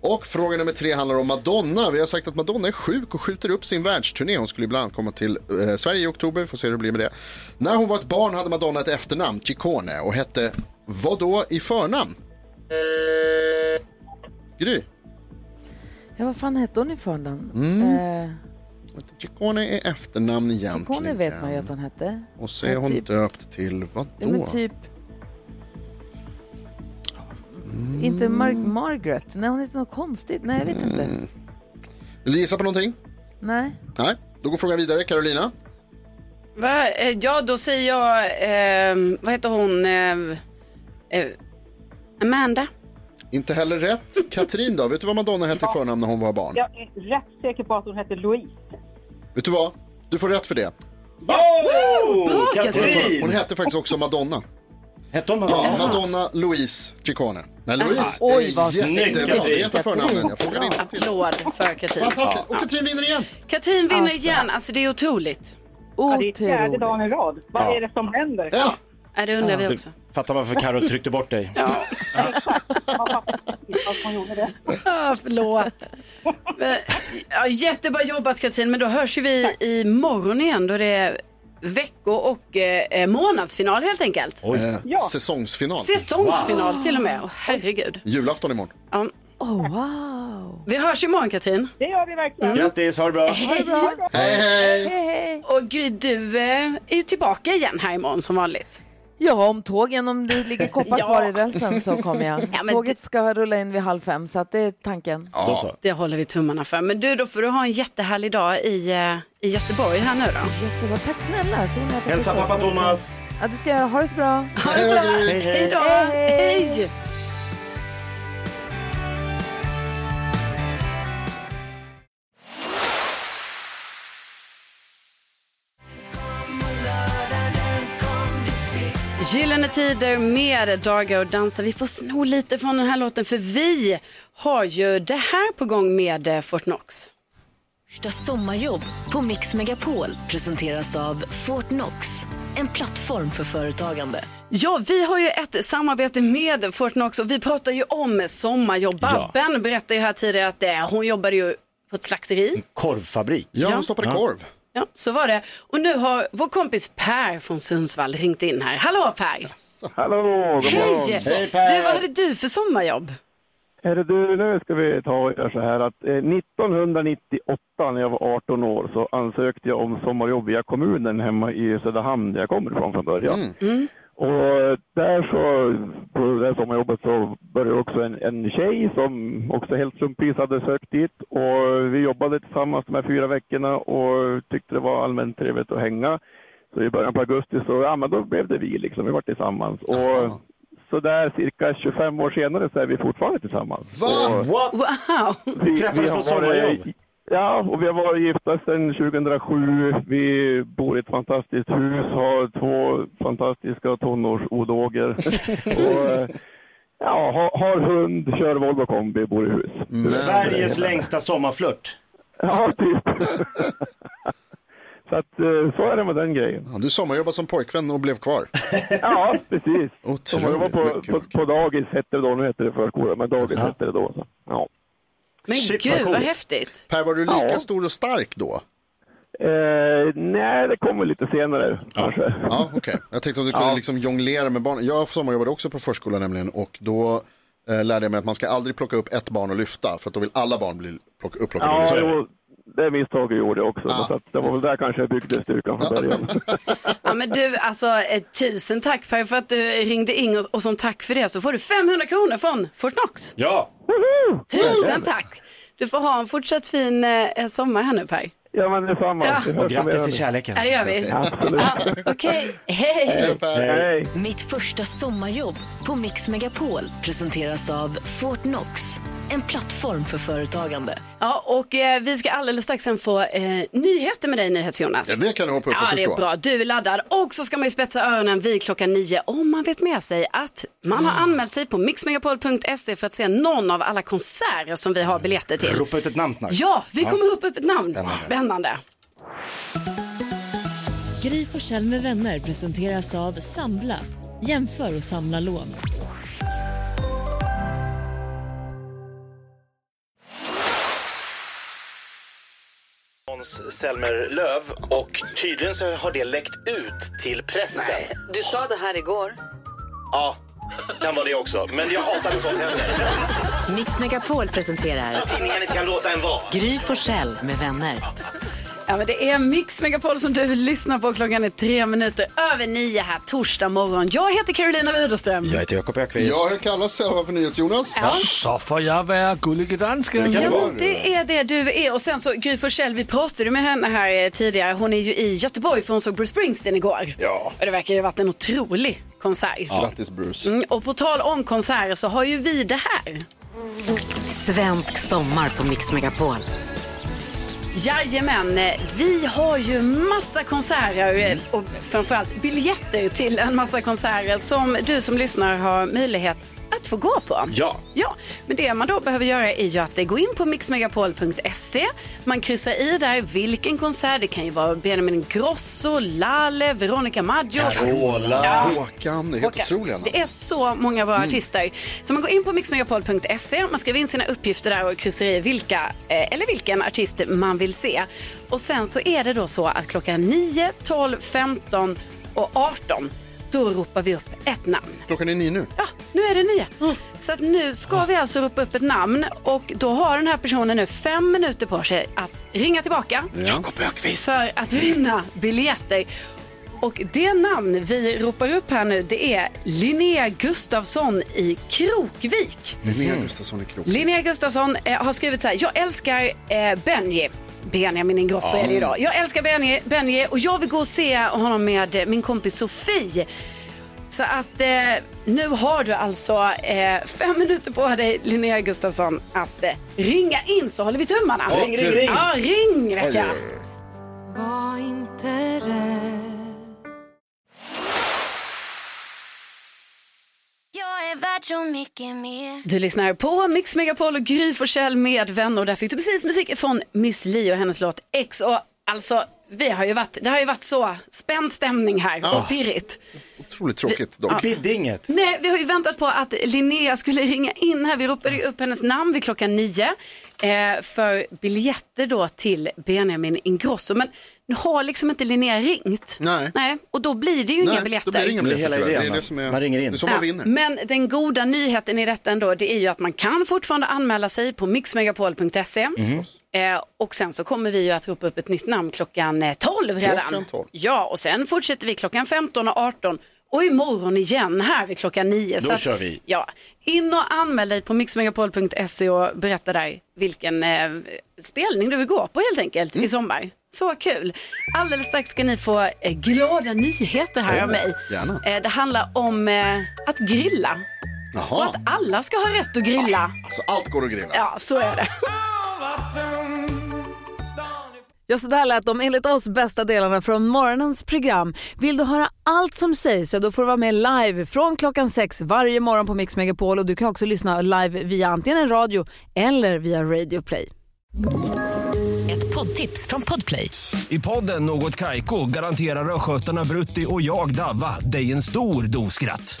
Och fråga nummer tre handlar om Madonna. Vi har sagt att Madonna är sjuk och skjuter upp sin världsturné. Hon skulle ju bland annat komma till eh, Sverige i oktober. Vi får se hur det blir med det. När hon var ett barn hade Madonna ett efternamn, Ciccone, och hette vad då i förnamn? Gry. Ja, vad fan hette hon i förnamn? Mm. Eh, som heter Ciccone är efternamn egentligen. Conny vet man ju att hon hette. Och så är hon typ, döpt till vad Ja, men då? typ... Mm. Inte Mar Margaret? Nej, hon heter något konstigt. Nej, jag vet Mm. inte. Mm. Vill du gissa på någonting? Nej. Nej, då går frågan vidare. Carolina? Va? Eh, Ja, då säger jag, eh, vad heter hon? Eh, eh, Amanda. Inte heller rätt. Katrin då? Vet du vad Madonna hette i förnamn när hon var barn? Jag är rätt säker på att hon heter Louise. Vet du vad? Du får rätt för det. Bra, Hon, hon hette faktiskt också Madonna. Hette hon Madonna? Madonna? Ja, Madonna Louise Ciccone. Nej, Jaha. Louise Oj, vad är jättebra. snyggt, Det heter förnamnen. Jag frågade inte. Applåd för Katrin. Fantastiskt. Och Katrin vinner igen. Katrin vinner Alltså. igen. Alltså det är otroligt. det är fjärde dagen i rad. Vad Ja. är det som händer? Ja. Ja, det undrar vi Du också. Fattar varför Karo tryckte bort dig. Ah, förlåt. Men, ja, jättebra jobbat Katrin, men då hörs ju vi imorgon igen då det är vecko och eh, månadsfinal helt enkelt. Eh, Ja. Säsongsfinal. Säsongsfinal till och med. Åh, herregud. Julafton imorgon. Ja. Oh, wow. Vi hörs imorgon Katrin. Det gör vi verkligen. Grattis, ha det bra. Mm. Hej, hej. Och Gry, du eh, är ju tillbaka igen här imorgon som vanligt. Ja, om tågen, om det ligger koppar kvar i rälsen så kommer jag. Ja, men Tåget ska rulla in vid halv fem, så att det är tanken. Det håller vi tummarna för. Men du, då får du ha en jättehärlig dag i, eh, i Göteborg här nu då. Jättebra. Tack snälla. Ska du med på Hälsa tåget? pappa Thomas. Ja, det ska jag. Ha det så bra. Ha det bra. Hej, hej. Hej då. Hej. Hej. Gyllene Tider med Daga och dansa. Vi får sno lite från den här låten för vi har ju det här på gång med eh, Fortnox. Första sommarjobb på Mix Megapol presenteras av Fortnox. En plattform för företagande. Ja, vi har ju ett samarbete med Fortnox och vi pratar ju om sommarjobb. Ja. Babben berättade ju här tidigare att eh, hon jobbade ju på ett slakteri. Korvfabrik. Ja, hon stoppade korv. Ja, så var det. Och nu har vår kompis Per från Sundsvall ringt in här. Hallå Per! Hallå, god morgon. Hej! Du, vad hade du för sommarjobb? Är det du, nu ska vi ta och göra så här att eh, 1998 när jag var 18 år så ansökte jag om sommarjobb via kommunen hemma i Söderhamn där jag kommer ifrån från början. Mm. Mm. Och där så, på det här sommarjobbet så började också en, en tjej som också helt slumpvis hade sökt dit och vi jobbade tillsammans de här fyra veckorna och tyckte det var allmänt trevligt att hänga. Så i början på augusti så, ja men då blev det vi liksom, vi var tillsammans. Och så där cirka 25 år senare så är vi fortfarande tillsammans. Och Wow! vi- vi har varit- Ja, och vi har varit gifta sedan 2007. Vi bor i ett fantastiskt hus, har två fantastiska tonårsodoger. och, eh, ja, har, har hund, kör Volvo kombi, bor i hus. Sveriges längsta sommarflört. Ja, typ. så att, eh, så är det med den grejen. Ja, du sommarjobbade som pojkvän och blev kvar. Ja, precis. Otroligt De var på, mycket på, på dagis hette det då, nu heter det förskola, men dagis hette det då. Så. Ja. Men Shit, gud, vad vad, coolt. häftigt. Per, var du lika Ja. stor och stark då? Eh, nej, det kommer lite senare kanske. Ja, okej. Jag tänkte om du kunde liksom jonglera med barn. Jag sommarjobbade också på förskola nämligen och då eh, lärde jag mig att man ska aldrig plocka upp ett barn och lyfta för att då vill alla barn bli plocka, upplockade. och Ja, lyfta. jo, det misstaget gjorde jag också. Så att det var väl där kanske jag byggde styrkan från början. Ja, men du, alltså, eh, tusen tack Per för att du ringde in och, och som tack för det så får du 500 kronor från Fortnox. Ja! Tusen tack! Du får ha en fortsatt fin eh, sommar här nu Per. Ja, men detsamma. Ja. Vi hörs Och grattis om jag till hör. kärleken. Ja, det gör vi. Absolut. Okej, Hej, hej! Per. Hej. Mitt första sommarjobb på Mix Megapol presenteras av Fortnox. En plattform för företagande. Ja, och eh, vi ska alldeles strax sen få eh, nyheter med dig, NyhetsJonas. Ja, det kan jag hoppa upp och Ja, det förstå. är bra. Du är laddad. Och så ska man ju spetsa öronen vid klockan nio om man vet med sig att man har anmält sig på mixmegapol.se för att se någon av alla konserter som vi har biljetter till. Ropa ut ett namn snart. Ja, vi kommer upp upp ett namn. Spännande. Spännande. Gry Forssell med vänner presenteras av Sambla. Jämför och samla lån. Måns Zelmerlöw och tydligen så har det läckt ut till pressen. Du sa det här igår. Ja, kan vara det också. Men jag hatar när sånt händer. Mix Megapol presenterar Tidningen inte kan låta en vara. Gry Forssell med vänner. Ja, men det är Mix Megapol som du lyssnar på. Klockan är tre minuter över nio här torsdag morgon. Jag heter Carolina Widerström. Jag heter Jakob Ekqvist. Ja, jag kallas i alla fall för NyhetsJonas. Ja. Så får jag vara gullig dansken. Ja, men det är det du är. Och sen så Gry Forssell, vi pratade ju med henne här eh, tidigare. Hon är ju i Göteborg för hon såg Bruce Springsteen igår. Ja. Och det verkar ju ha varit en otrolig konsert. Grattis Bruce. Mm, och på tal om konserter så har ju vi det här. Svensk sommar på Mix Megapol. Jajamän, eh, vi har ju massa konserter eh, och framförallt biljetter till en massa konserter som du som lyssnar har möjlighet att få gå på. Ja. Ja, men det man då behöver göra är ju att eh, gå in på mixmegapol.se. Man kryssar i där vilken konsert. Det kan ju vara Benjamin Grosso, Lalle, Veronica Maggio. Ja. Håkan, det är helt Mm. Håkan. otroligt. Det är så många bra artister. Så man går in på mixmegapol.se, man skriver in sina uppgifter där och kryssar i vilka eh, eller vilken artist man vill se. Och sen så är det då så att klockan 9, 12, 15 och 18 då ropar vi upp ett namn. Klockan är nio nu. Ja, nu är det nio. Så att nu ska vi alltså ropa upp ett namn och då har den här personen nu fem minuter på sig att ringa tillbaka för att vinna biljetter. Och det namn vi ropar upp här nu det är Linnea Gustafsson i Krokvik. Linnea Gustafsson i Krok. Linnea Gustafsson eh, har skrivit så här. Jag älskar eh, Benji. Benjamin Ingrosso Ja. är det idag. Jag älskar Benji, Benji och jag vill gå och se honom med eh, min kompis Sofie. Så att eh, nu har du alltså eh, fem minuter på dig Linnea Gustafsson att eh, ringa in så håller vi tummarna. Ja, Ring, ring, ring. Ja, ring vet Oj, jag. oj, Var inte rädd Jag är värd så mycket mer Du lyssnar på Mix Megapol och Gry Forssell med vänner. Där fick du precis musik från Miss Li och hennes låt X. Och alltså, vi har ju varit, det har ju varit så spänd stämning här Ja. och pirrigt. Otroligt tråkigt dock. Ja. Bidde inget. Nej, vi har ju väntat på att Linnea skulle ringa in här. Vi ropade ju upp hennes namn vid klockan nio eh, för biljetter då till Benjamin Ingrosso. Men nu har liksom inte Linnea ringt. Nej. och då blir det ju inga biljetter. Då blir det inga Det är biljetter hela tyvärr. idén, det alltså. är va? det som är, Man ringer in. Det är så Ja, man vinner. Men den goda nyheten i detta ändå, det är ju att man kan fortfarande anmäla sig på mixmegapol.se. Mm-hmm. Eh, och sen så kommer vi ju att ropa upp ett nytt namn klockan eh, 12 redan. Klockan 12. Ja, och sen fortsätter vi klockan 15 och 18 och imorgon igen här vid klockan 9. Då Så att- kör vi. Ja, in och anmäl dig på mixmegapol.se och berätta där vilken eh, spelning du vill gå på helt enkelt Mm. i sommar. Så kul! Alldeles strax ska ni få eh, glada nyheter här Åh, av mig. gärna. Eh, det handlar om eh, att grilla. Och Jaha, att alla ska ha rätt att grilla. alltså allt går att grilla. Ja, så är det. Ja, så där lät de enligt oss bästa delarna från morgonens program. Vill du höra allt som sägs så då får du vara med live från klockan sex varje morgon på Mix Megapol och du kan också lyssna live via antingen en radio eller via Radio Play. Ett poddtips från Podplay. I podden Något Kaiko garanterar östgötarna Brutti och jag, Davva, dig en stor dos skratt.